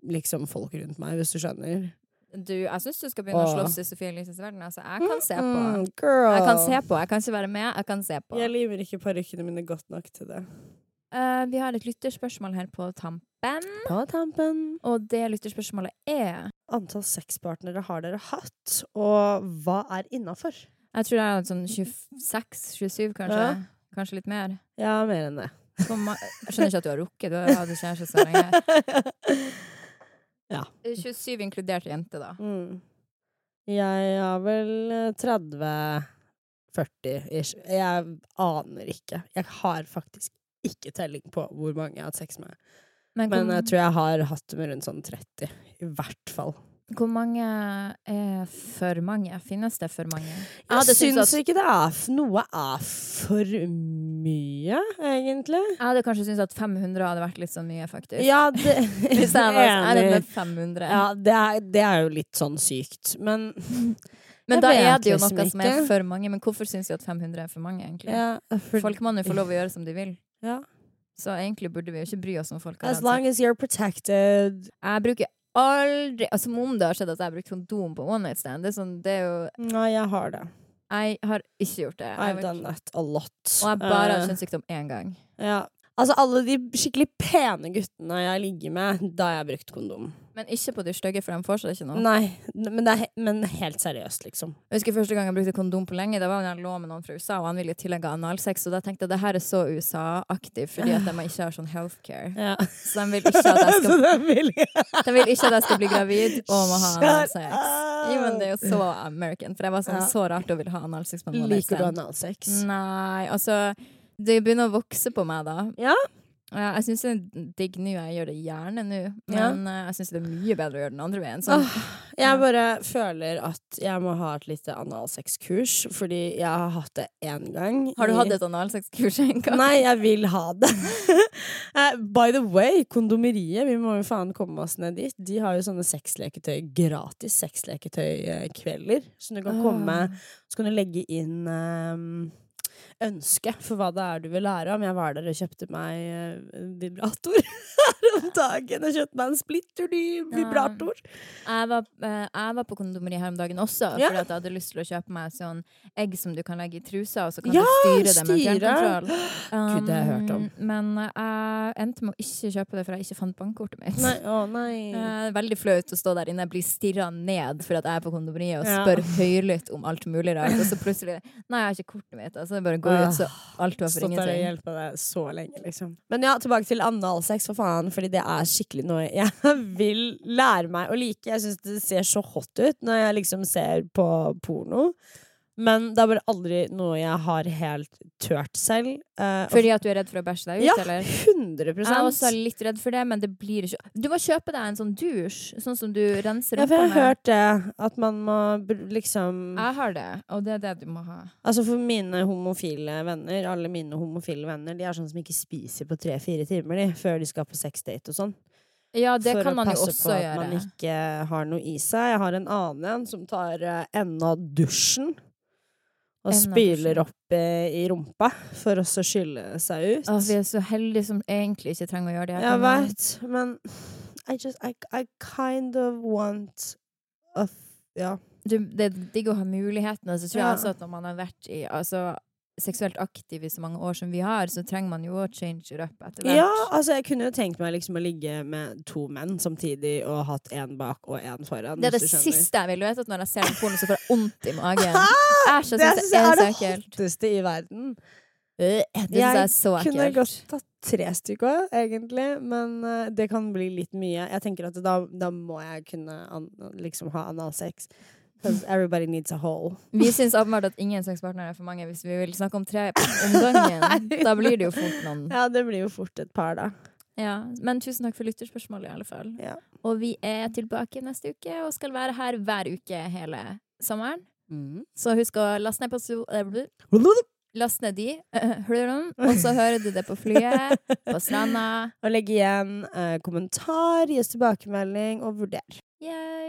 [SPEAKER 2] liksom folk rundt meg, hvis du skjønner.
[SPEAKER 1] Du, jeg syns du skal begynne å
[SPEAKER 2] Åh.
[SPEAKER 1] slåss i Sofie Elises verden. Altså, jeg kan se på.
[SPEAKER 2] Mm, girl.
[SPEAKER 1] Jeg kan se på. Jeg kan ikke være med. Jeg kan se på.
[SPEAKER 2] Jeg limer ikke parykkene mine godt nok til det.
[SPEAKER 1] Eh, vi har et lytterspørsmål her på tampen,
[SPEAKER 2] På tampen.
[SPEAKER 1] og det lytterspørsmålet er
[SPEAKER 2] Antall sexpartnere har dere hatt, og hva er innafor?
[SPEAKER 1] Jeg tror jeg har hatt sånn 26-27, kanskje.
[SPEAKER 2] Ja.
[SPEAKER 1] Kanskje litt mer.
[SPEAKER 2] Ja, mer *laughs* enn det.
[SPEAKER 1] Så ma- Jeg skjønner ikke at du har rukket. Du har hatt kjæreste så lenge.
[SPEAKER 2] *laughs*
[SPEAKER 1] 27 inkludert jente, da.
[SPEAKER 2] Mm. Jeg har vel eh, 30 40 ish. Jeg aner ikke. Jeg har faktisk ikke telling på hvor mange jeg har hatt sex med. Men jeg tror jeg har hatt med rundt sånn 30. I hvert fall.
[SPEAKER 1] Hvor mange er for mange? Finnes det for mange?
[SPEAKER 2] Jeg
[SPEAKER 1] hadde syntes
[SPEAKER 2] syns ikke det er f- Noe er for mye, egentlig.
[SPEAKER 1] Jeg hadde kanskje syntes at 500 hadde vært litt så mye, faktisk.
[SPEAKER 2] Ja, *laughs* det
[SPEAKER 1] *laughs* Hvis jeg var sånn, er det
[SPEAKER 2] Enig.
[SPEAKER 1] med 500?
[SPEAKER 2] Ja, det er, det er jo litt sånn sykt. Men
[SPEAKER 1] men
[SPEAKER 2] jeg
[SPEAKER 1] da
[SPEAKER 2] vet
[SPEAKER 1] er det jo
[SPEAKER 2] liksom
[SPEAKER 1] noe som er
[SPEAKER 2] ikke.
[SPEAKER 1] for mange. Men hvorfor syns vi at 500 er for mange, egentlig?
[SPEAKER 2] ja, for,
[SPEAKER 1] Folk må jo få lov å gjøre som de vil.
[SPEAKER 2] Ja.
[SPEAKER 1] Så egentlig burde vi jo ikke bry oss om folk har
[SPEAKER 2] As
[SPEAKER 1] hatt
[SPEAKER 2] long as you're protected.
[SPEAKER 1] sex. Jeg bruker aldri Altså, Som om det har skjedd at jeg har brukt kondom på one night stand. Det er sånn, det er jo
[SPEAKER 2] Nei, jeg har det.
[SPEAKER 1] Jeg har ikke gjort det. Jeg har
[SPEAKER 2] I've
[SPEAKER 1] vært-
[SPEAKER 2] done that a lot.
[SPEAKER 1] Og jeg bare
[SPEAKER 2] Eh,
[SPEAKER 1] har kjønnssykdom én gang.
[SPEAKER 2] ja. Altså, alle de skikkelig pene guttene jeg ligger med, da har jeg brukt kondom.
[SPEAKER 1] Men ikke på de stygge, for de får seg ikke noe.
[SPEAKER 2] Nei, n- men, det er, he- men helt seriøst, liksom.
[SPEAKER 1] Jeg husker første gang jeg brukte kondom på lenge, det var når jeg lå med noen fra USA, og han ville tillegge analsex, og da tenkte jeg det her er så USA-aktig, fordi at de ikke har sånn healthcare.
[SPEAKER 2] Ja.
[SPEAKER 1] Så de vil ikke at jeg
[SPEAKER 2] *laughs*
[SPEAKER 1] skal,
[SPEAKER 2] vil jeg
[SPEAKER 1] de vil ikke at jeg skal bli gravid og må ha
[SPEAKER 2] Shut
[SPEAKER 1] analsex.
[SPEAKER 2] up!
[SPEAKER 1] Jo, men det er jo så American, for jeg var sånn
[SPEAKER 2] Ja.
[SPEAKER 1] så rart å ville ha analsex på en
[SPEAKER 2] Liker du
[SPEAKER 1] måte.
[SPEAKER 2] analsex?
[SPEAKER 1] Mm, Nei, altså Det begynner å vokse på meg, da.
[SPEAKER 2] Ja.
[SPEAKER 1] Eh, Jeg syns det er digg nå, jeg gjør det gjerne nå,
[SPEAKER 2] Ja.
[SPEAKER 1] men eh, jeg syns det er mye bedre å gjøre den andre veien. Sånn,
[SPEAKER 2] Jeg bare føler at jeg må ha et lite analsexkurs, fordi jeg har hatt det én gang.
[SPEAKER 1] har du
[SPEAKER 2] i-
[SPEAKER 1] hatt et analsexkurs en gang?
[SPEAKER 2] Nei, jeg vil ha det. *laughs* Eh, By the way, kondomeriet, vi må jo faen komme oss ned dit. De har jo sånne sexleketøy, gratis sexleketøykvelder. Så du kan
[SPEAKER 1] Ah.
[SPEAKER 2] komme, så kan du legge inn eh, ønske for hva det er du vil lære om. Jeg var der og kjøpte meg eh, vibrator *laughs* her om dagen. Jeg kjøpte meg en splitter ny vibrator.
[SPEAKER 1] Jeg var, eh, jeg var på kondomeri her om dagen også,
[SPEAKER 2] Ja.
[SPEAKER 1] fordi at jeg hadde lyst til å kjøpe meg sånn egg som du kan legge i trusa, og så kan
[SPEAKER 2] Ja,
[SPEAKER 1] du styre det med
[SPEAKER 2] styre.
[SPEAKER 1] fjernkontroll.
[SPEAKER 2] Gud, det har jeg hørt om.
[SPEAKER 1] Um, Men eh, jeg endte med å ikke kjøpe det, for jeg ikke fant bankkortet mitt.
[SPEAKER 2] Nei, å
[SPEAKER 1] *laughs*
[SPEAKER 2] nei.
[SPEAKER 1] Eh, veldig flaut å stå der inne, bli stirra ned for at jeg er på kondomeriet og
[SPEAKER 2] Ja.
[SPEAKER 1] spør høylytt om alt mulig rart, og så plutselig Nei, jeg har ikke kortet mitt. Altså, bare gå
[SPEAKER 2] Ah.
[SPEAKER 1] ut, så alt var for
[SPEAKER 2] Stått der og
[SPEAKER 1] ingenting.
[SPEAKER 2] hjulpet deg så lenge, liksom. Men ja, tilbake til analsex, for faen, fordi det er skikkelig noe jeg *laughs* vil lære meg å like. Jeg syns det ser så hot ut når jeg liksom ser på porno. Men det er bare aldri noe jeg har helt tørt selv. Eh,
[SPEAKER 1] Fordi at du er redd for å bæsje deg ut,
[SPEAKER 2] Ja,
[SPEAKER 1] eller?
[SPEAKER 2] 100
[SPEAKER 1] Jeg er også litt redd for det, men det blir ikke Du må kjøpe deg en sånn dusj, sånn som du renser
[SPEAKER 2] Ja, for
[SPEAKER 1] rumpa
[SPEAKER 2] jeg
[SPEAKER 1] med.
[SPEAKER 2] har hørt det, at man må br- liksom
[SPEAKER 1] Jeg har det, og det er det du må ha.
[SPEAKER 2] Altså for mine homofile venner, alle mine homofile venner, de er sånne som ikke spiser på tre-fire timer, de, før de skal på sexdate og sånn.
[SPEAKER 1] Ja, det
[SPEAKER 2] for
[SPEAKER 1] kan man
[SPEAKER 2] å
[SPEAKER 1] jo
[SPEAKER 2] passe
[SPEAKER 1] også
[SPEAKER 2] på at
[SPEAKER 1] gjøre.
[SPEAKER 2] man ikke har noe i seg. Jeg har en annen en som tar eh, enden av dusjen
[SPEAKER 1] Enden av
[SPEAKER 2] og
[SPEAKER 1] dusjen.
[SPEAKER 2] spyler opp eh, i rumpa for å så skylle seg ut.
[SPEAKER 1] Å, vi er så heldige som egentlig ikke trenger å gjøre det. her,
[SPEAKER 2] jeg
[SPEAKER 1] kan man?
[SPEAKER 2] veit, men I just I, I kind of want a f- Ja.
[SPEAKER 1] Du, det er digg å ha muligheten, og så tror jeg
[SPEAKER 2] Ja.
[SPEAKER 1] også at når man har vært i, altså, seksuelt aktiv i så mange år som vi har, så trenger man jo å change it up etter hvert.
[SPEAKER 2] ja, altså jeg kunne jo tenkt meg liksom å ligge med to menn samtidig og hatt én bak og én foran.
[SPEAKER 1] Det er det
[SPEAKER 2] hvis du skjønner.
[SPEAKER 1] siste jeg vil. Du vet at når jeg ser den porno, så får jeg vondt i *laughs* magen.
[SPEAKER 2] *laughs* Ah,
[SPEAKER 1] Æsj, jeg
[SPEAKER 2] det
[SPEAKER 1] syns
[SPEAKER 2] synes
[SPEAKER 1] det
[SPEAKER 2] jeg
[SPEAKER 1] er så
[SPEAKER 2] er det
[SPEAKER 1] ekkelt.
[SPEAKER 2] hotteste i verden.
[SPEAKER 1] Øh, Det syns jeg er så
[SPEAKER 2] kunne godt
[SPEAKER 1] ekkelt.
[SPEAKER 2] tatt tre stykker, egentlig, men eh, det kan bli litt mye. Jeg tenker at da, da må jeg kunne an, liksom ha analsex. Because everybody needs a hole.
[SPEAKER 1] Vi syns åpenbart at ingen sexpartnere er for mange hvis vi vil snakke om tre om *laughs* gangen.
[SPEAKER 2] Nei.
[SPEAKER 1] Da blir det jo fort noen
[SPEAKER 2] Ja, det blir jo fort et par, da.
[SPEAKER 1] Ja, men tusen takk for lytterspørsmålet i alle fall.
[SPEAKER 2] Ja.
[SPEAKER 1] Og vi er tilbake neste uke og skal være her
[SPEAKER 2] Mm.
[SPEAKER 1] hver uke hele sommeren. Så husk å laste ned på so- eh, Last ned de, hører du dem, og så hører du det på flyet, på stranda.
[SPEAKER 2] Og legg igjen eh, kommentar, gi oss tilbakemelding og vurder.
[SPEAKER 1] Yay!